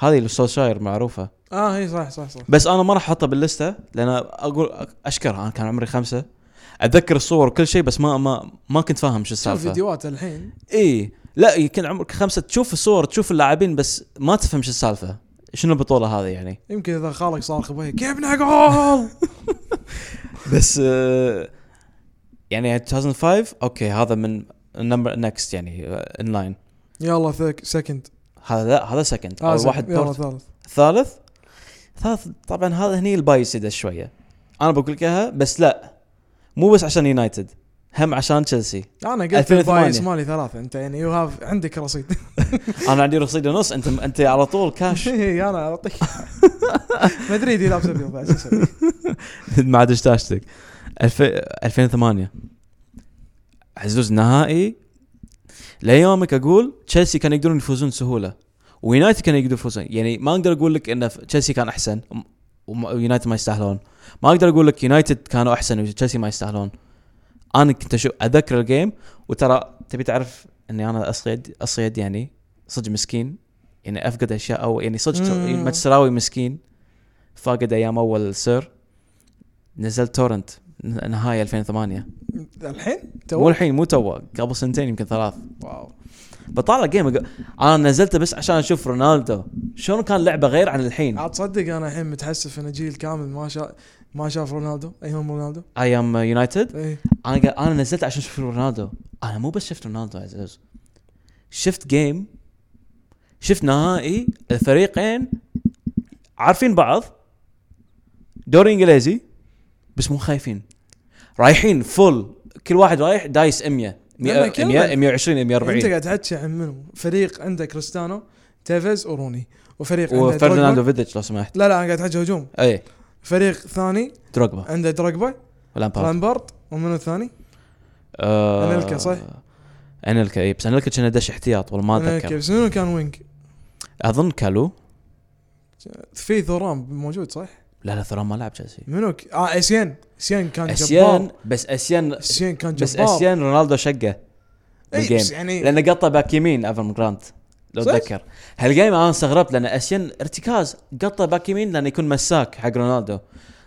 Speaker 1: هذه اللي سولشاير معروفه
Speaker 2: اه هي صح صح صح
Speaker 1: بس انا ما راح احطها باللسته لان اقول اشكرها انا كان عمري خمسه اتذكر الصور وكل شيء بس ما ما ما كنت فاهم شو
Speaker 2: شوف
Speaker 1: السالفه
Speaker 2: فيديوهات الحين
Speaker 1: اي لا يمكن عمرك خمسه تشوف الصور تشوف اللاعبين بس ما تفهم شو السالفه شنو البطوله هذه يعني
Speaker 2: يمكن اذا خالك صارخ بهي جبنا جول
Speaker 1: بس آه، يعني 2005 اوكي هذا من النمبر نكست يعني ان لاين
Speaker 2: يلا ثك سكند
Speaker 1: هذا لا هذا سكند اول واحد
Speaker 2: آه، يلا
Speaker 1: بورت
Speaker 2: ثالث
Speaker 1: ثالث ثالث طبعا هذا هني البايس يدش شويه انا بقول لك اياها بس لا مو بس عشان يونايتد هم عشان تشيلسي
Speaker 2: انا قلت
Speaker 1: 2008.
Speaker 2: البايس مالي ثلاثه انت يعني يو هاف عندك رصيد
Speaker 1: انا عندي رصيد ونص انت انت على طول كاش
Speaker 2: إي، انا اعطيك مدريدي لابس ابيض بعد شو أسوي؟
Speaker 1: ما عاد اشتاشتك 2008 عزوز نهائي ليومك اقول تشيلسي كانوا يقدرون يفوزون سهوله ويونايتد كانوا يقدرون يفوزون يعني ما اقدر اقول لك ان تشيلسي كان احسن وم- ويونايتد ما يستاهلون ما اقدر اقول لك يونايتد كانوا احسن وتشيلسي ما يستاهلون انا كنت اشوف اتذكر الجيم وترى تبي تعرف اني انا اصيد اصيد يعني صدق مسكين يعني افقد اشياء او يعني صدق
Speaker 2: مم.
Speaker 1: متسراوي مسكين فاقد ايام اول سير نزلت تورنت ن- نهاية 2008
Speaker 2: الحين
Speaker 1: مو
Speaker 2: تو
Speaker 1: الحين مو تو قبل سنتين يمكن ثلاث
Speaker 2: واو
Speaker 1: بطالع جيم أق- انا نزلته بس عشان اشوف رونالدو شلون كان لعبه غير عن الحين
Speaker 2: عاد تصدق انا الحين متحسف ان جيل كامل ما شاف ما شاف رونالدو ايام رونالدو إيه.
Speaker 1: ايام يونايتد
Speaker 2: اي
Speaker 1: انا قا- انا نزلت عشان اشوف رونالدو انا مو بس شفت رونالدو يا عزيز شفت جيم شفت نهائي الفريقين عارفين بعض دوري انجليزي بس مو خايفين رايحين فل كل واحد رايح دايس 100
Speaker 2: لما
Speaker 1: 100
Speaker 2: كمل.
Speaker 1: 100 120
Speaker 2: انت
Speaker 1: 140
Speaker 2: قاعد تحكي عن منو؟ فريق عنده كريستيانو تيفيز وروني وفريق عنده
Speaker 1: وفرناندو
Speaker 2: دروجبا
Speaker 1: فيديتش لو سمحت إيه.
Speaker 2: لا لا انا قاعد احكي هجوم
Speaker 1: اي
Speaker 2: فريق ثاني
Speaker 1: دروجبا
Speaker 2: عنده دروجبا
Speaker 1: ولامبارد
Speaker 2: لامبرت ومنو الثاني؟
Speaker 1: آه،
Speaker 2: أنيلكا، صح؟
Speaker 1: انيلكا اي بس انيلكا كان دش احتياط والله ما
Speaker 2: أنا
Speaker 1: اتذكر
Speaker 2: كيف- منو كان وينج؟
Speaker 1: اظن كالو
Speaker 2: في ثوران موجود صح؟
Speaker 1: لا لا ثرام ما لعب تشيلسي
Speaker 2: منو ك... اه اسيان اسيان كان
Speaker 1: اسيان
Speaker 2: جبار
Speaker 1: بس اسيان
Speaker 2: اسيان كان جبار
Speaker 1: بس اسيان رونالدو شقه
Speaker 2: اي بس
Speaker 1: بالجيم
Speaker 2: يعني
Speaker 1: لانه قطه باك يمين افرم جرانت لو
Speaker 2: صح؟
Speaker 1: تذكر هالجيم انا استغربت لان اسيان ارتكاز قطه باك يمين لانه يكون مساك حق رونالدو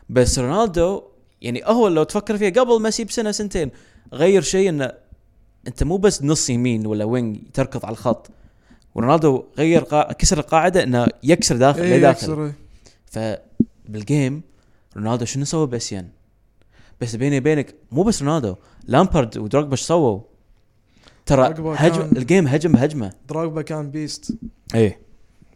Speaker 1: بس رونالدو يعني هو لو تفكر فيها قبل ميسي بسنه سنتين غير شيء انه انت مو بس نص يمين ولا وينج تركض على الخط ورونالدو غير قا... كسر القاعده انه يكسر داخل
Speaker 2: إي،
Speaker 1: لداخل
Speaker 2: يكسر، إي.
Speaker 1: فبالجيم رونالدو شنو سوى باسيان؟ بس بيني وبينك مو بس رونالدو لامبارد ودروجبا ايش سووا؟ ترى
Speaker 2: دروجبا
Speaker 1: هجم
Speaker 2: كان-
Speaker 1: الجيم هجم بهجمه
Speaker 2: دراجبا كان بيست
Speaker 1: ايه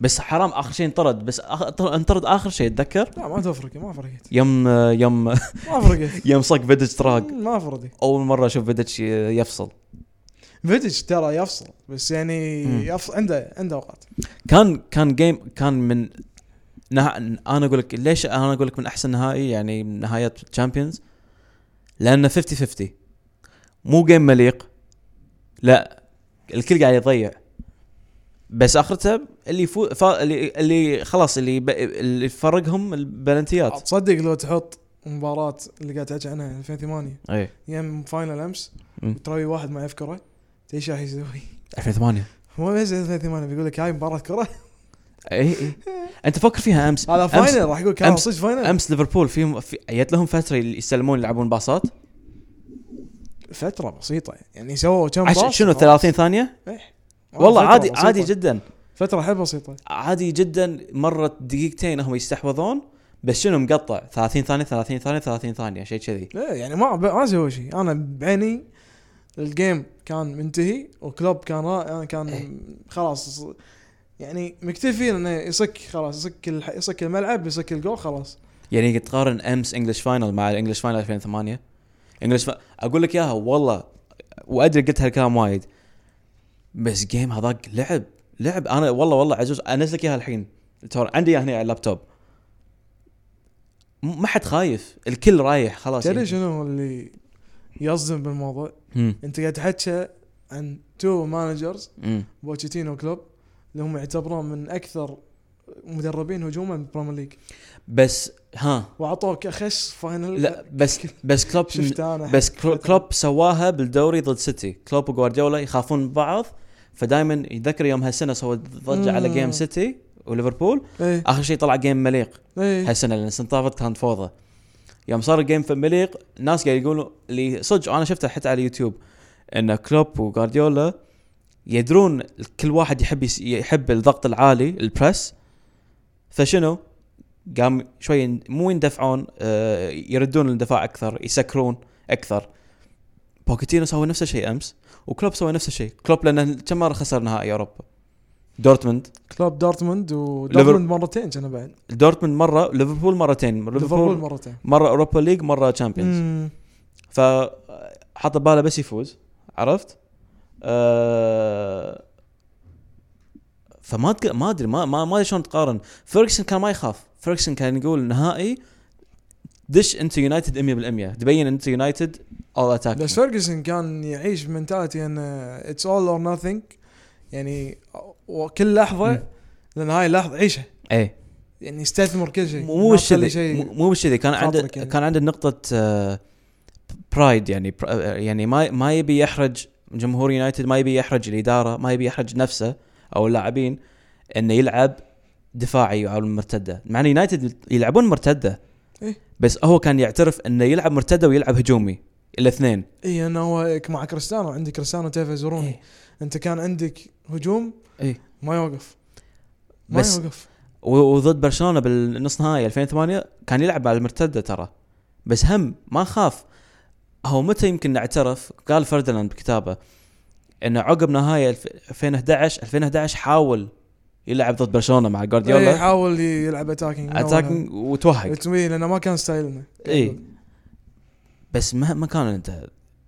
Speaker 1: بس حرام اخر شيء انطرد بس آخ... طر- انطرد اخر شيء تذكر
Speaker 2: لا ما تفرق ما فرقت
Speaker 1: يوم يوم
Speaker 2: ما فرقت
Speaker 1: يوم صق فيدج تراق
Speaker 2: ما فرقت
Speaker 1: اول مره اشوف فيدج يفصل
Speaker 2: فيدج ترى يفصل بس يعني
Speaker 1: مم.
Speaker 2: يفصل عنده عنده اوقات
Speaker 1: كان كان جيم كان من نه... انا اقول لك ليش انا اقول لك من احسن نهائي يعني من نهايات تشامبيونز لانه 50 50 مو جيم مليق لا الكل قاعد يضيع بس اخرته اللي فو... ف... اللي... اللي خلاص اللي ب... اللي فرقهم البلنتيات
Speaker 2: تصدق لو تحط مباراة اللي قاعد تحكي عنها 2008
Speaker 1: اي
Speaker 2: يم فاينل امس
Speaker 1: مم.
Speaker 2: وتراوي واحد ما يعرف كرة ايش راح يسوي؟
Speaker 1: 2008
Speaker 2: هو بس 2008 بيقول لك هاي مباراة كرة
Speaker 1: اي اي انت فكر فيها امس
Speaker 2: هذا
Speaker 1: أمس-
Speaker 2: فاينل راح يقول كان
Speaker 1: أمس-
Speaker 2: صدق فاينل
Speaker 1: امس ليفربول فيهم في... جت لهم فتره يسلمون يلعبون باصات
Speaker 2: فترة بسيطة يعني سووا كم
Speaker 1: عش...
Speaker 2: باص
Speaker 1: شنو
Speaker 2: وخلاص.
Speaker 1: 30 ثانيه والله
Speaker 2: فترة
Speaker 1: عادي
Speaker 2: بسيطة.
Speaker 1: عادي جدا
Speaker 2: فترة حيل بسيطة
Speaker 1: عادي جدا مرت دقيقتين هم يستحوذون بس شنو مقطع 30 ثانيه 30 ثانيه 30 ثانيه شيء كذي
Speaker 2: لا يعني ما ما سوى شيء انا بعيني الجيم كان منتهي وكلوب كان را... آه،
Speaker 1: إيه.
Speaker 2: كان خلاص يعني مكتفي انه يصك خلاص يصك الح... يصك الملعب يصك الجول خلاص
Speaker 1: يعني تقارن امس انجلش فاينل مع الانجلش فاينل 2008 انجلش ف... اقول لك اياها والله وادري قلت هالكلام وايد بس جيم هذاك لعب لعب انا والله والله عزوز انزل لك اياها الحين ترى عندي اياها هنا على اللابتوب م- ما حد خايف الكل رايح خلاص يعني.
Speaker 2: تدري شنو اللي يصدم بالموضوع؟
Speaker 1: مم.
Speaker 2: انت قاعد تحكي عن تو مانجرز
Speaker 1: مم.
Speaker 2: بوتشيتينو كلوب اللي هم يعتبرون من اكثر مدربين هجوما بالبريمير ليج
Speaker 1: بس ها
Speaker 2: واعطوك اخش فاينل
Speaker 1: لا بس بس كلوب
Speaker 2: شفت انا
Speaker 1: بس كلو- كلوب سواها بالدوري ضد سيتي كلوب وغوارديولا يخافون من بعض فدائما يتذكر يوم هالسنه سوى ضجه على
Speaker 2: مم.
Speaker 1: جيم سيتي وليفربول
Speaker 2: ايه
Speaker 1: اخر شيء طلع جيم مليق
Speaker 2: ايه
Speaker 1: هالسنه لان السنه طافت كانت فوضى يوم صار الجيم في مليق الناس قاعد يقولوا اللي صدق انا شفته حتى على اليوتيوب ان كلوب وغوارديولا يدرون كل واحد يحب يس- يحب الضغط العالي البريس فشنو قام شوي ين- مو يندفعون آه، يردون الاندفاع اكثر يسكرون اكثر بوكيتينو سوى نفس الشيء امس وكلوب سوى نفس الشيء كلوب لانه كم مره خسر نهائي اوروبا دورتموند
Speaker 2: كلوب دورتموند
Speaker 1: ليفر-
Speaker 2: ودورتموند مرتين كان بعد
Speaker 1: دورتموند مره ليفربول مرتين
Speaker 2: ليفربول مرتين
Speaker 1: مره اوروبا ليج مره تشامبيونز
Speaker 2: مم.
Speaker 1: فحط بباله بس يفوز عرفت؟ أه فما تق... ما ادري ما ما ما ادري شلون تقارن فيرجسون كان ما يخاف فيرجسون كان يقول نهائي دش انت يونايتد 100% تبين انت يونايتد اول
Speaker 2: بس
Speaker 1: اتاك
Speaker 2: فيرجسون كان يعيش بمنتاليتي ان اتس اول اور ناثينج يعني وكل
Speaker 1: مم.
Speaker 2: لحظه لان هاي اللحظه عيشها
Speaker 1: اي
Speaker 2: يعني يستثمر كل شيء
Speaker 1: مو
Speaker 2: ما
Speaker 1: مش
Speaker 2: تخلي
Speaker 1: كذي
Speaker 2: شيء
Speaker 1: مو- مو مش كذي كان عنده
Speaker 2: خاطرك يعني.
Speaker 1: كان عنده نقطه برايد يعني بر- آه، يعني ما ما يبي يحرج جمهور يونايتد ما يبي يحرج الاداره ما يبي يحرج نفسه او اللاعبين انه يلعب دفاعي او المرتده مع ان يونايتد يلعبون مرتده
Speaker 2: إيه.
Speaker 1: بس هو كان يعترف انه يلعب مرتده ويلعب هجومي الاثنين
Speaker 2: اي انا إيه، هو مع كريستيانو عندي كريستيانو تيفز وروني
Speaker 1: إيه.
Speaker 2: انت كان عندك هجوم
Speaker 1: إيه.
Speaker 2: ما يوقف ما
Speaker 1: بس-
Speaker 2: يوقف
Speaker 1: و- وضد برشلونه بالنص نهائي 2008 كان يلعب على المرتده ترى بس هم ما خاف هو متى يمكن اعترف قال فرديناند بكتابه انه عقب نهاية الف- 2011 2011 حاول يلعب ضد برشلونه مع
Speaker 2: إيه،
Speaker 1: جوارديولا
Speaker 2: يحاول يلعب اتاكينج
Speaker 1: اتاكينج وتوهق
Speaker 2: لانه ما كان ستايلنا
Speaker 1: اي بس ما ما كان انت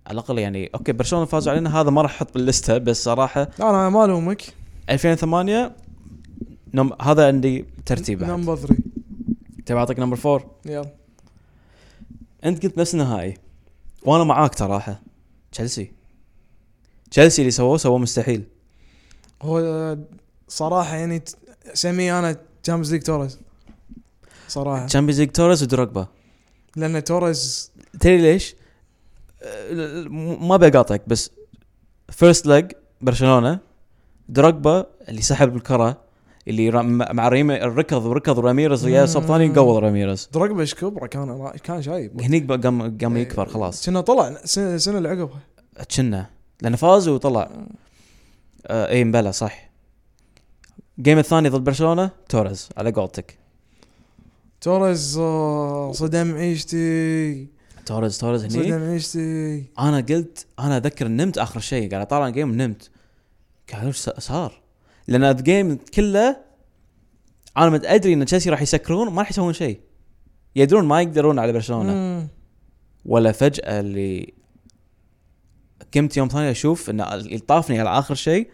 Speaker 1: على الاقل يعني اوكي برشلونه فازوا علينا هذا ما راح احط باللسته بس صراحه
Speaker 2: لا انا ما الومك
Speaker 1: 2008 نم هذا عندي ترتيب بعد
Speaker 2: نمبر 3
Speaker 1: تبي اعطيك نمبر 4
Speaker 2: يلا
Speaker 1: انت قلت نفس النهائي وانا معاك تراحه تشيلسي تشيلسي اللي سووه سووه مستحيل
Speaker 2: هو آه، صراحه يعني ت- سميه انا تشامبيونز ليج توريز صراحه
Speaker 1: تشامبيونز ليج توريس ودروجبا
Speaker 2: لان توريز
Speaker 1: تدري ليش؟ أه، ل- ل- ما بقاطعك بس فيرست ليج برشلونه دروجبا اللي سحب الكره اللي را- مع مع ريما- ركض وركض راميرز وياه صوب ثاني قوض راميرز
Speaker 2: درجبا ايش كبره كان كان شايب
Speaker 1: هنيك بقى قام قام
Speaker 2: إيه.
Speaker 1: يكبر خلاص
Speaker 2: كنا طلع سنه سنة اللي عقبها
Speaker 1: كنا لانه فاز وطلع آه اي مبلا صح الجيم الثاني ضد برشلونه توريز على قولتك
Speaker 2: توريز آه، صدم عيشتي
Speaker 1: توريز توريز هني
Speaker 2: صدم عيشتي
Speaker 1: انا قلت انا اذكر نمت اخر شيء قاعد اطالع الجيم نمت قاعد اقول "إيش صار؟ لان الجيم كله انا مت- ادري ان تشيلسي راح يسكرون ما راح يسوون شيء يدرون ما يقدرون على برشلونه
Speaker 2: مم.
Speaker 1: ولا فجأة اللي قمت يوم ثاني اشوف ان اللي طافني على اخر شيء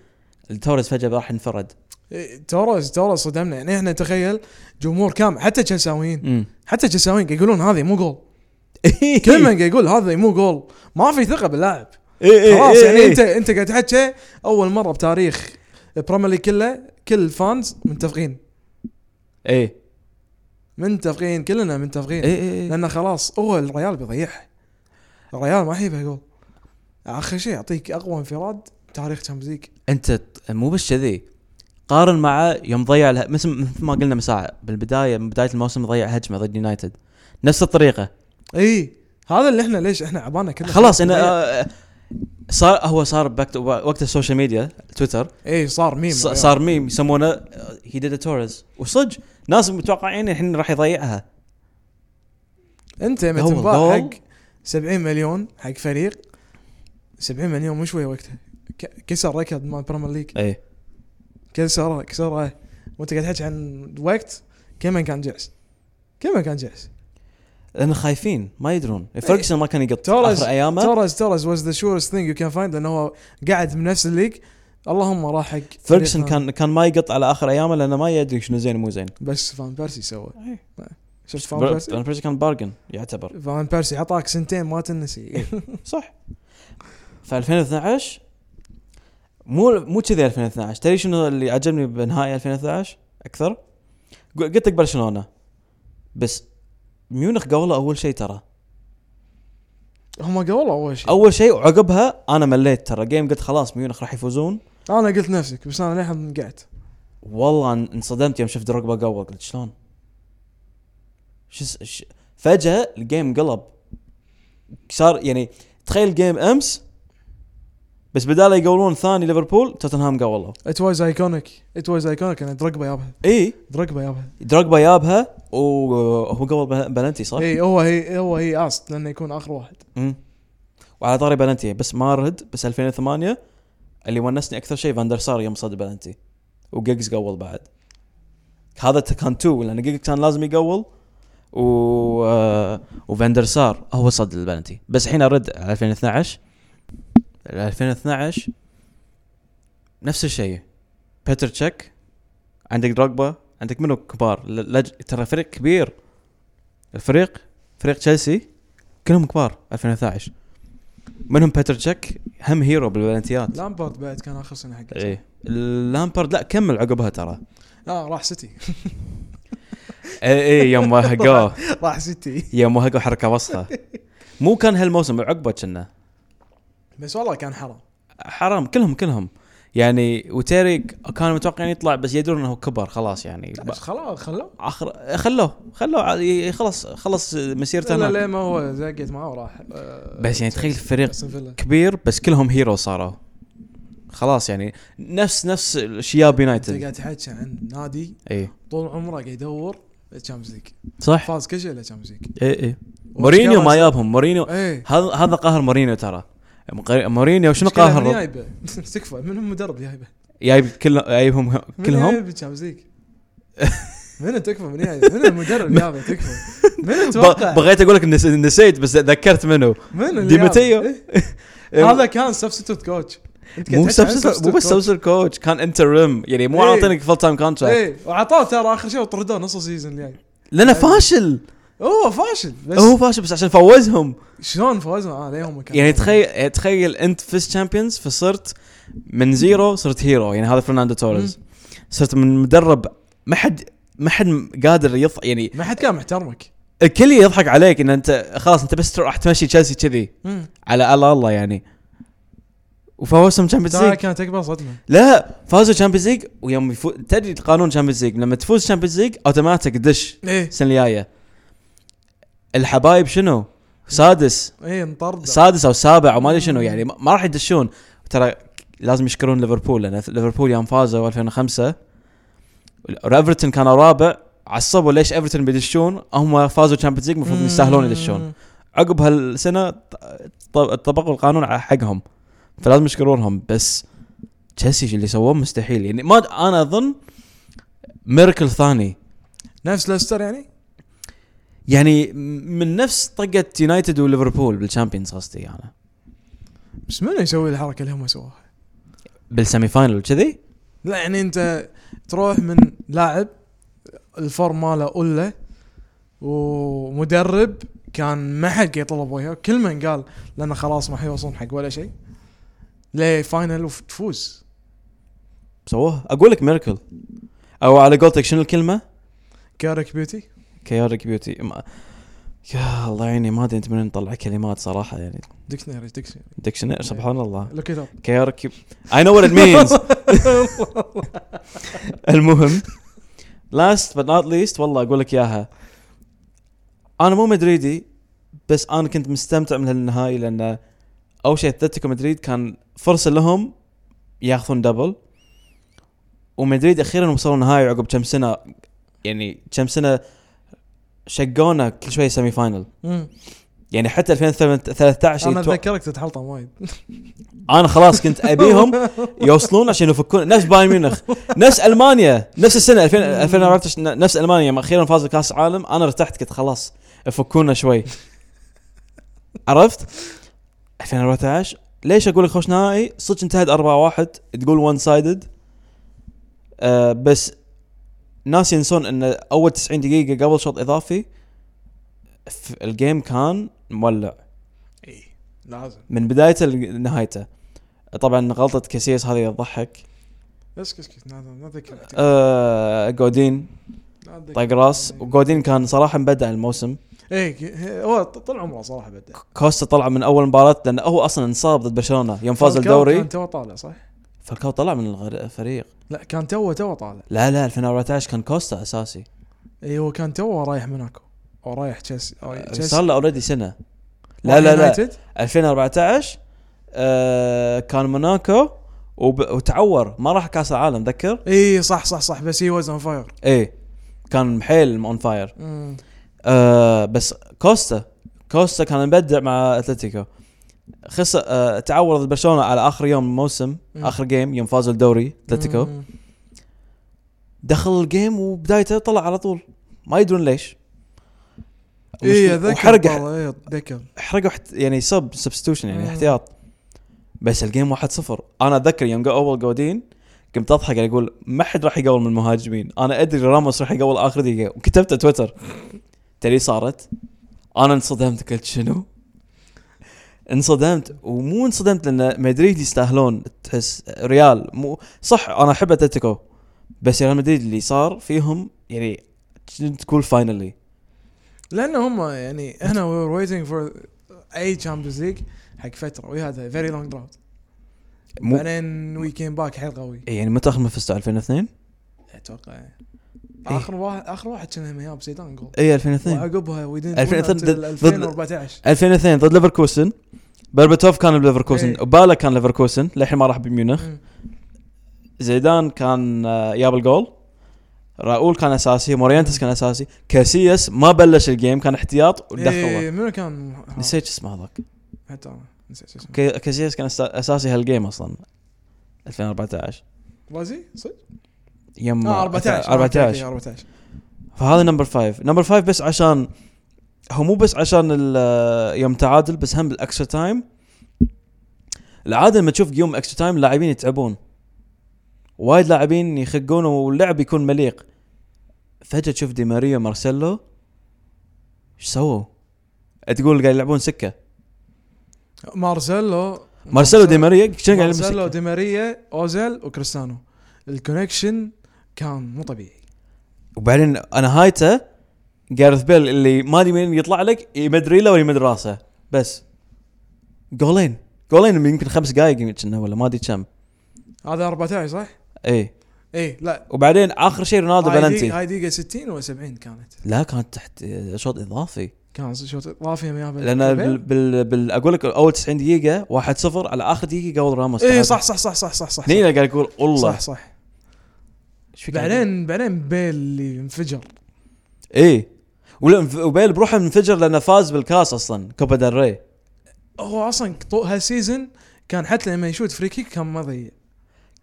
Speaker 1: التوريز فجأة راح انفرد
Speaker 2: إيه، توريز توريز صدمنا يعني احنا تخيل جمهور كامل حتى تشلساويين
Speaker 1: امم
Speaker 2: حتى تشلساويين قاعد يقولون هذه مو جول
Speaker 1: إيه.
Speaker 2: كل من قاعد يقول هذا مو جول ما في ثقه باللاعب
Speaker 1: إيه،
Speaker 2: خلاص يعني انت انت قاعد تحكي اول مره بتاريخ البريمير ليج كله كل الفانز متفقين
Speaker 1: ايه
Speaker 2: متفقين كلنا متفقين
Speaker 1: ايه ايه ايه
Speaker 2: لانه خلاص هو الريال بيضيعها الريال ما يبي جول اخر شيء يعطيك اقوى انفراد تاريخ تشامبيونز ليج
Speaker 1: انت ت- مو بس كذي قارن مع يوم ضيع اله- مثل مثل ما قلنا مساعة بالبدايه من بدايه الموسم ضيع هجمه ضد يونايتد نفس الطريقه
Speaker 2: اي هذا اللي احنا ليش احنا عبانا كله
Speaker 1: خلاص انه آه، صار هو صار باك وقت السوشيال ميديا تويتر
Speaker 2: اي صار ميم
Speaker 1: آه، ص- صار ميم يسمونه آه، هي ديد توريز وصدق ناس متوقعين الحين راح يضيعها
Speaker 2: انت لما
Speaker 1: هو
Speaker 2: تنباع
Speaker 1: الضوء.
Speaker 2: حق 70 مليون حق فريق 70 مليون مو شويه وقتها ك- كسر ريكورد مال بريمير ليج
Speaker 1: ايه
Speaker 2: كسره كسره وانت آه، قاعد تحكي عن وقت كمان كان جعس كمان كان جعس
Speaker 1: لان خايفين ما يدرون
Speaker 2: إيه.
Speaker 1: فيرجسون ما كان يقط
Speaker 2: توريز-
Speaker 1: اخر ايامه
Speaker 2: تورز تورز واز ذا شورست ثينج يو كان فايند لانه هو قاعد بنفس الليج اللهم راح حق
Speaker 1: فيرجسون
Speaker 2: فريق ثاني.
Speaker 1: كان كان ما يقط على اخر ايامه لانه ما يدري شنو زين ومو زين
Speaker 2: بس فان بيرسي سوى
Speaker 1: إيه.
Speaker 2: شفت فان بيرسي
Speaker 1: فان بيرسي كان بارجن يعتبر
Speaker 2: فان بيرسي عطاك سنتين ما تنسي إيه.
Speaker 1: صح ف 2012 مو مو كذي 2012 تدري شنو اللي عجبني بنهائي 2012 اكثر قل- قلت لك برشلونه بس ميونخ قوله اول شيء ترى
Speaker 2: هم قبل اول شيء
Speaker 1: اول شيء وعقبها انا مليت ترى جيم قلت خلاص ميونخ راح يفوزون
Speaker 2: انا قلت نفسك بس انا للحين قعدت
Speaker 1: والله ان- انصدمت يوم شفت دروجبا قول قلت شلون؟ شو س- ش... فجأة الجيم قلب صار يعني تخيل جيم امس بس بداله يقولون ثاني ليفربول توتنهام قولوا
Speaker 2: ات واز ايكونيك ات واز ايكونيك انا درقبه يابها
Speaker 1: اي
Speaker 2: درقبه يابها
Speaker 1: دروجبا جابها وهو قول بل- بلنتي صح؟
Speaker 2: اي إيه، هو هي هو هي اصد لانه يكون اخر واحد
Speaker 1: مم. وعلى طاري بلنتي بس ما رد بس 2008 اللي ونسني اكثر شيء فاندر سار يوم صد بلنتي وجيجز قول بعد هذا ت- كان تو لان جيجز كان لازم يقول و آه، وفاندر سار هو صد البلنتي بس الحين ارد على 2012 على 2012 نفس الشيء بيتر تشيك عندك دروجبا عندك منو كبار ل- لج- ترى فريق كبير الفريق فريق تشيلسي كلهم كبار 2012 منهم بيتر تشيك هم هيرو بالبلنتيات
Speaker 2: لامبارد بعد كان اخر سنه حقه
Speaker 1: ايه لامبارد لا كمل عقبها ترى
Speaker 2: اه راح سيتي
Speaker 1: اي اي إيه، يوم وهقوه
Speaker 2: راح سيتي
Speaker 1: يوم وهقوه حركه وسطى مو كان هالموسم عقبه كنا
Speaker 2: بس والله كان حرام
Speaker 1: حرام كلهم كلهم يعني وتيريك كان متوقع انه يطلع بس يدرون انه كبر خلاص يعني
Speaker 2: لا، بس خلاص خلوه
Speaker 1: اخر خلوه خلوه عادي، خلاص خلص مسيرته
Speaker 2: لا
Speaker 1: هناك.
Speaker 2: لا ما هو زقت معه وراح آه،
Speaker 1: بس يعني تخيل فريق
Speaker 2: أستون فيلا.
Speaker 1: كبير بس كلهم هيرو صاروا خلاص يعني نفس نفس شياب
Speaker 2: انت
Speaker 1: يونايتد إيه.
Speaker 2: قاعد تحكي عن نادي
Speaker 1: اي
Speaker 2: طول عمره قاعد يدور تشامبيونز ليج
Speaker 1: صح إيه،
Speaker 2: فاز كل شيء للتشامبيونز ليج
Speaker 1: اي اي مورينيو ما جابهم مورينيو
Speaker 2: ايه
Speaker 1: هذا هذا قاهر مورينيو ترى مقر- مورينيو شنو
Speaker 2: مشكلة من
Speaker 1: قاهر
Speaker 2: جايبه تكفى من المدرب جايبه
Speaker 1: جايب كل جايبهم
Speaker 2: من
Speaker 1: كلهم
Speaker 2: جايب تشامبيونز ليج من تكفى من جايبه من المدرب جايبه تكفى من
Speaker 1: ب-
Speaker 2: اتوقع
Speaker 1: بغيت اقول لك نس- نسيت بس ذكرت منه
Speaker 2: من اللي
Speaker 1: ديمتيو
Speaker 2: جابه؟ إيه. هذا كان سبستوت كوتش
Speaker 1: مو سبسل- مو بس سبسل كوتش كان انترم يعني مو
Speaker 2: إيه.
Speaker 1: عاطينك فول تايم كونتراكت
Speaker 2: ايه وعطاه ترى اخر شيء وطردوه نص السيزون اللي جاي
Speaker 1: لانه فاشل
Speaker 2: هو فاشل بس
Speaker 1: هو فاشل بس عشان فوزهم
Speaker 2: شلون فوزنا اه ليهم كان
Speaker 1: يعني تخيل تخيل انت فزت شامبيونز فصرت من زيرو صرت هيرو يعني هذا فرناندو توريز صرت من مدرب ما حد ما حد قادر يض يعني
Speaker 2: ما حد كان محترمك
Speaker 1: الكل يضحك عليك ان انت خلاص انت بس راح تمشي تشيلسي كذي على الله الله يعني وفوزهم تشامبيونز
Speaker 2: ترى
Speaker 1: ليج
Speaker 2: كانت اكبر صدمه
Speaker 1: لا فازوا تشامبيونز ليج ويوم يفو... تدري قانون تشامبيونز ليج لما تفوز تشامبيونز ليج اوتوماتيك دش
Speaker 2: ايه
Speaker 1: السنه الجايه الحبايب شنو؟ سادس
Speaker 2: ايه انطرد
Speaker 1: سادس او سابع او ما ادري شنو يعني ما ما راح يدشون ترى لازم يشكرون ليفربول لان ليفربول يوم فازوا 2005 ايفرتون كانوا رابع عصبوا ليش ايفرتون بيدشون هم فازوا تشامبيونز ليج المفروض يستاهلون يدشون عقب هالسنه ط- طبقوا القانون على حقهم فلازم يشكرونهم بس تشيلسي اللي سووه مستحيل يعني ما انا اظن ميركل ثاني
Speaker 2: نفس ليستر يعني
Speaker 1: يعني من نفس طقه يونايتد وليفربول بالشامبيونز قصدي انا يعني.
Speaker 2: بس منو يسوي الحركه اللي هم سووها؟
Speaker 1: بالسيمي فاينل كذي
Speaker 2: لا يعني انت تروح من لاعب الفورم ماله قله ومدرب كان ما حد يطلب وجهه كل من قال لانه خلاص ما حيوصلون حق ولا شيء ليه فاينل وتفوز
Speaker 1: سووها اقول لك ميركل او على قولتك شنو الكلمه؟
Speaker 2: كارك بيوتي
Speaker 1: كيورك بيوتي ما... يا الله يعيني ما ادري انت منين تطلع كلمات صراحه يعني
Speaker 2: ديكشنري ديكشنري
Speaker 1: ديكشنري سبحان الله
Speaker 2: لوك ات اب
Speaker 1: كيورك اي نو وات ات مينز المهم لاست بت نوت ليست والله اقول لك اياها انا مو مدريدي بس انا كنت مستمتع من هالنهائي لان اول شيء اتلتيكو مدريد كان فرصه لهم ياخذون دبل ومدريد اخيرا وصلوا نهائي عقب كم سنه يعني كم سنه شقونا كل شوي سيمي فاينل يعني حتى 2013 يتوقع-
Speaker 2: انا اتذكرك تتحلطم وايد
Speaker 1: انا خلاص كنت ابيهم يوصلون عشان يفكون نفس بايرن ميونخ نفس المانيا نفس السنه 2000 2014 نفس المانيا لما اخيرا فاز كاس العالم انا ارتحت قلت خلاص فكونا شوي عرفت 2014 ليش اقول لك خوش نهائي؟ صدق انتهت 4-1 تقول وان سايدد آه بس ناس ينسون ان اول 90 دقيقه قبل شوط اضافي ف- الجيم كان مولع
Speaker 2: اي إيه، لازم
Speaker 1: من بدايته لنهايته طبعا غلطه كاسياس هذه تضحك
Speaker 2: بس كس كس لا- لا اذكر
Speaker 1: آه جودين طق راس
Speaker 2: إيه.
Speaker 1: وجودين كان صراحه مبدع الموسم
Speaker 2: اي إيه، هو ط- طول عمره صراحه بدا
Speaker 1: كوستا طلع من اول مباراه لانه هو اصلا انصاب ضد برشلونه يوم فاز
Speaker 2: فالكاو
Speaker 1: الدوري
Speaker 2: كان تو طالع صح؟
Speaker 1: فالكاو طلع من الغر- الفريق
Speaker 2: لا كان تو تو طالع
Speaker 1: لا لا 2014 كان كوستا اساسي
Speaker 2: اي هو كان تو رايح موناكو او رايح تشيلسي أو تشيلسي.
Speaker 1: أه، آه، صار له اوريدي سنه لا لا لا
Speaker 2: يونايتد.
Speaker 1: 2014 آه كان موناكو وب... وتعور ما راح كاس العالم ذكر
Speaker 2: اي صح صح صح بس هي وزن فاير
Speaker 1: ايه كان حيل اون فاير آه بس كوستا كوستا كان مبدع مع اتلتيكو خسر آه تعور ضد برشلونه على اخر يوم الموسم
Speaker 2: مم.
Speaker 1: اخر جيم يوم فازوا الدوري اتلتيكو دخل الجيم وبدايته طلع على طول ما يدرون ليش
Speaker 2: اي
Speaker 1: وش-
Speaker 2: اذكر
Speaker 1: وحرق
Speaker 2: اي اتذكر
Speaker 1: حرقوا حت- يعني سب سبستوشن يعني
Speaker 2: مم.
Speaker 1: احتياط بس الجيم 1-0 انا اتذكر يوم جو اول جودين قمت اضحك يعني اقول ما حد راح يقول من المهاجمين انا ادري راموس راح يقول اخر دقيقه وكتبت تويتر تدري صارت انا انصدمت قلت شنو انصدمت ومو انصدمت لان مدريد يستاهلون تحس ريال مو صح انا احب اتلتيكو بس ريال مدريد اللي صار فيهم يعني تقول فاينلي
Speaker 2: لان هم يعني احنا وي ويتنج فور اي تشامبيونز ليج حق فتره وهذا فيري لونج دراوت
Speaker 1: مو
Speaker 2: بعدين وي كيم باك حيل قوي
Speaker 1: يعني متى اخر ما فزتوا 2002
Speaker 2: اتوقع اخر واحد اخر واحد كان هياب زيدان جول
Speaker 1: اي 2002
Speaker 2: وعقبها وي دينت
Speaker 1: 2002 ضد-
Speaker 2: 2014
Speaker 1: 2002 ضد ليفركوسن بربتوف كان بليفركوسن
Speaker 2: إيه.
Speaker 1: بالا كان ليفركوسن للحين ما راح بميونخ
Speaker 2: مم.
Speaker 1: زيدان كان آه، جاب الجول راؤول كان اساسي مورينتس
Speaker 2: مم.
Speaker 1: كان اساسي كاسياس ما بلش الجيم كان احتياط
Speaker 2: إيه،
Speaker 1: ودخله
Speaker 2: منو كان ها،
Speaker 1: نسيت شو اسمه هذاك
Speaker 2: حتى أنا نسيت اسمه
Speaker 1: كي- كاسياس كان أسا- اساسي هالجيم اصلا 2014
Speaker 2: وازي صدق؟
Speaker 1: يم
Speaker 2: اه 14
Speaker 1: 14
Speaker 2: 14 14
Speaker 1: فهذا نمبر فايف نمبر فايف بس عشان هو مو بس عشان ال- آه، يوم تعادل بس هم بالاكسترا تايم العاده لما تشوف يوم اكسترا تايم اللاعبين يتعبون وايد لاعبين يخقون واللعب يكون مليق فجاه تشوف دي ماريا مارسيلو ايش سووا؟ تقول قاعد يلعبون سكه
Speaker 2: مارسيلو
Speaker 1: مارسيلو دي ماريا شنو قاعد يلعبون
Speaker 2: مارسيلو
Speaker 1: سكه؟
Speaker 2: دي ماريا اوزيل وكريستيانو الكونكشن كان مو طبيعي
Speaker 1: وبعدين انا هايته جارث بيل اللي ما ادري من يطلع لك يمد ريله ولا يمد راسه بس جولين جولين من يمكن خمس دقائق يمكن كنا ولا ما ادري كم
Speaker 2: هذا 14 صح؟
Speaker 1: اي
Speaker 2: اي لا
Speaker 1: وبعدين اخر شيء رونالدو
Speaker 2: هاي دي-
Speaker 1: بلنتي
Speaker 2: هاي دقيقة 60 ولا 70 كانت
Speaker 1: لا كانت تحت آه، شوط اضافي
Speaker 2: كان شوط اضافي من يابا
Speaker 1: لان بال, بال, بال اقول لك اول 90 دقيقه 1-0 على اخر دقيقه قبل راموس
Speaker 2: اي إيه، صح صح صح صح صح صح
Speaker 1: هني قاعد يقول والله
Speaker 2: صح صح
Speaker 1: إيش فيك عدل؟
Speaker 2: بعدين بعدين بيل اللي انفجر
Speaker 1: اي إيه. ولا- وبيل بروحه منفجر لانه فاز بالكاس اصلا كوبا دال ري
Speaker 2: هو اصلا طو- هالسيزون كان حتى لما يشوت فري كيك كان ما ضيع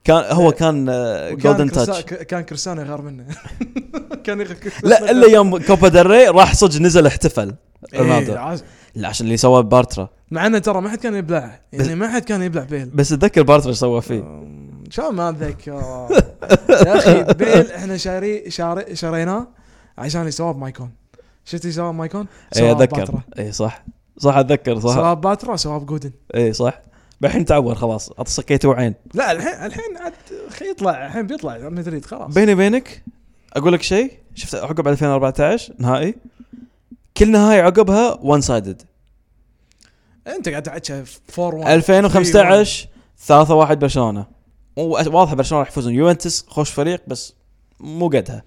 Speaker 1: كان هو كان
Speaker 2: إيه.
Speaker 1: آه،
Speaker 2: وكان
Speaker 1: جولدن
Speaker 2: كريستا-
Speaker 1: تاتش
Speaker 2: ك- كان كريستيانو يغار منه كان يغار كريستيانو.
Speaker 1: لا الا يوم كوبا ديل ري راح صدق نزل احتفل
Speaker 2: إيه،
Speaker 1: رونالدو
Speaker 2: عازم.
Speaker 1: لا عشان اللي سواه بارترا
Speaker 2: مع انه ترى ما حد كان يبلعه
Speaker 1: بس-
Speaker 2: يعني ما حد كان يبلع بيل
Speaker 1: بس اتذكر بارترا ايش سوى فيه
Speaker 2: أم، شلون ما اتذكر يا اخي بيل احنا شاري شاري شريناه عشان يسوى بمايكون شفت يسوى بمايكون؟
Speaker 1: اي
Speaker 2: سواه
Speaker 1: اتذكر
Speaker 2: باترا.
Speaker 1: اي إيه، صح صح اتذكر صح
Speaker 2: سواه باترا سواه بجودن
Speaker 1: اي صح الحين تعور خلاص اتصكيت وعين
Speaker 2: لا الحين الحين عاد خي يطلع الحين بيطلع مدريد خلاص
Speaker 1: بيني وبينك اقول لك شيء شفت عقب 2014 نهائي كل نهائي عقبها وان سايدد
Speaker 2: انت قاعد تعد شايف 4 1 إيه،
Speaker 1: 2015 3 1 برشلونه واضحه برشلونه راح يفوزون يوفنتوس خوش فريق بس مو قدها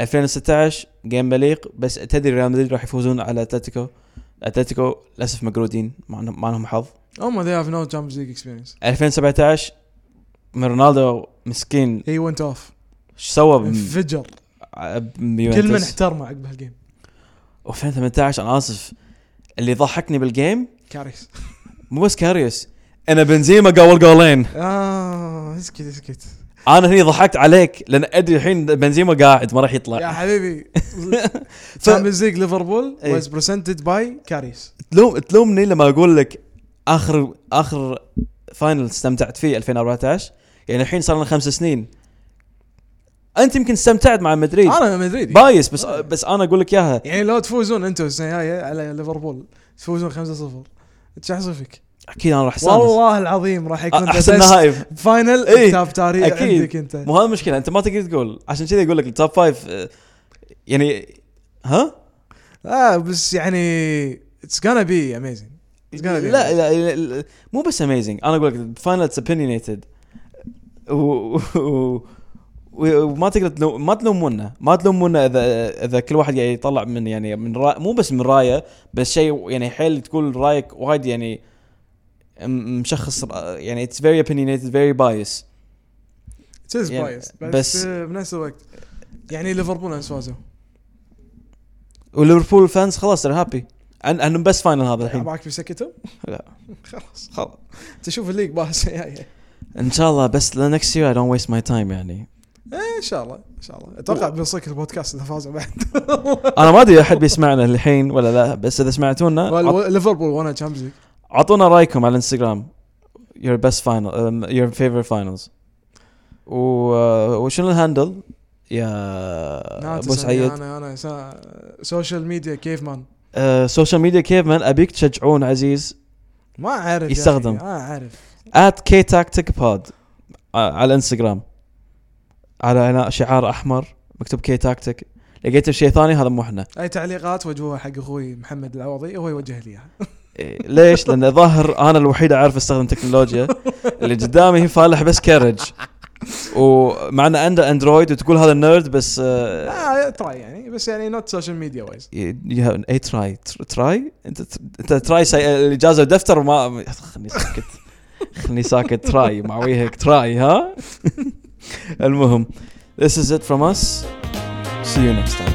Speaker 1: 2016 جيم مليق بس تدري ريال مدريد راح يفوزون على اتلتيكو اتلتيكو للاسف مقرودين ما عندهم- ما لهم حظ
Speaker 2: هم ذي هاف نو تشامبيونز ليج اكسبيرينس
Speaker 1: 2017 من رونالدو مسكين
Speaker 2: هي ونت اوف
Speaker 1: ايش سوى بم-
Speaker 2: انفجر كل من
Speaker 1: بيوفنتوس
Speaker 2: احترمه عقب هالجيم
Speaker 1: و2018 انا اسف اللي ضحكني بالجيم
Speaker 2: كارثه
Speaker 1: مو بس كاريوس انا بنزيما قاول جولين
Speaker 2: اه اسكت اسكت
Speaker 1: انا هني ضحكت عليك لان ادري الحين بنزيما قاعد ما راح
Speaker 2: يا
Speaker 1: يطلع
Speaker 2: حبيبي
Speaker 1: آه. ف-
Speaker 2: تشامبيونز ليج ليفربول
Speaker 1: إيه.
Speaker 2: واز برسنتد باي كاريس
Speaker 1: تلوم تلومني لما اقول لك اخر اخر فاينل استمتعت فيه 2014 يعني الحين صار لنا خمس سنين انت يمكن استمتعت مع مدريد
Speaker 2: انا مدريدي
Speaker 1: بايس بس بس انا اقول لك اياها
Speaker 2: يعني لو تفوزون انتم السنه الجايه على ليفربول تفوزون 5-0 ايش احصل فيك؟
Speaker 1: اكيد انا راح استانس
Speaker 2: والله العظيم راح يكون
Speaker 1: احسن آه، نهائي
Speaker 2: فاينل
Speaker 1: إيه،
Speaker 2: كتاب تاريخ
Speaker 1: أكيد.
Speaker 2: عندك انت
Speaker 1: مو هذا المشكله انت ما تقدر تقول عشان كذا اقول لك التوب فايف آه، يعني ها
Speaker 2: اه بس يعني اتس gonna بي اميزنج It's gonna
Speaker 1: لا,
Speaker 2: be
Speaker 1: لا, لا, لا مو بس اميزنج انا اقول لك فاينل اوبينيتد وما تقدر تلو... ما تلومونا ما تلومونا اذا اذا كل واحد قاعد يطلع من يعني من رأي مو بس من رايه بس شيء يعني حيل تقول رايك وايد يعني م- مشخص رأ- يعني اتس فيري اوبينيتد فيري بايس
Speaker 2: It is
Speaker 1: يعني
Speaker 2: biased
Speaker 1: بس-
Speaker 2: بس آه، بنفس الوقت يعني ليفربول امس فازوا
Speaker 1: وليفربول فانز خلاص هابي عن بس فاينل هذا الحين
Speaker 2: معك بيسكتهم؟
Speaker 1: لا.
Speaker 2: خلاص
Speaker 1: خلاص
Speaker 2: تشوف الليج باس جايه
Speaker 1: ان شاء الله بس next year I don't waste my time يعني
Speaker 2: ان شاء الله ان شاء الله اتوقع بيوصلك البودكاست اذا فازوا بعد
Speaker 1: انا ما ادري احد بيسمعنا الحين ولا لا بس اذا سمعتونا عط-
Speaker 2: وال- ليفربول وانا تشامبيونز ليج
Speaker 1: اعطونا رايكم على الانستغرام your best final um, your favorite finals و uh, وشنو الهاندل يا
Speaker 2: نعم،
Speaker 1: ابو سعيد
Speaker 2: انا انا سوشيال ميديا كيف مان
Speaker 1: سوشيال ميديا Uh, كيف من ابيك تشجعون عزيز
Speaker 2: ما اعرف يا أخي،
Speaker 1: يستخدم.
Speaker 2: ما اعرف
Speaker 1: at tactic pod Uh, على الانستغرام على عنا- شعار احمر مكتوب كي تاكتيك لقيت شيء ثاني هذا مو احنا
Speaker 2: اي تعليقات وجهوها حق اخوي محمد العوضي هو يوجه لي اياها
Speaker 1: إيه، ليش؟ لان ظاهر انا الوحيد اعرف استخدم تكنولوجيا اللي قدامي هي فالح بس كارج ومع ان عنده اندرويد وتقول هذا النيرد بس آه،
Speaker 2: آه تراي يعني بس يعني نوت سوشيال ميديا وايز
Speaker 1: ي- ي- اي تراي تر- تراي انت ت- انت تراي سي- الاجازه ودفتر وما خلني ساكت خلني ساكت تراي مع وجهك تراي ها المهم This is it from us. See you next time.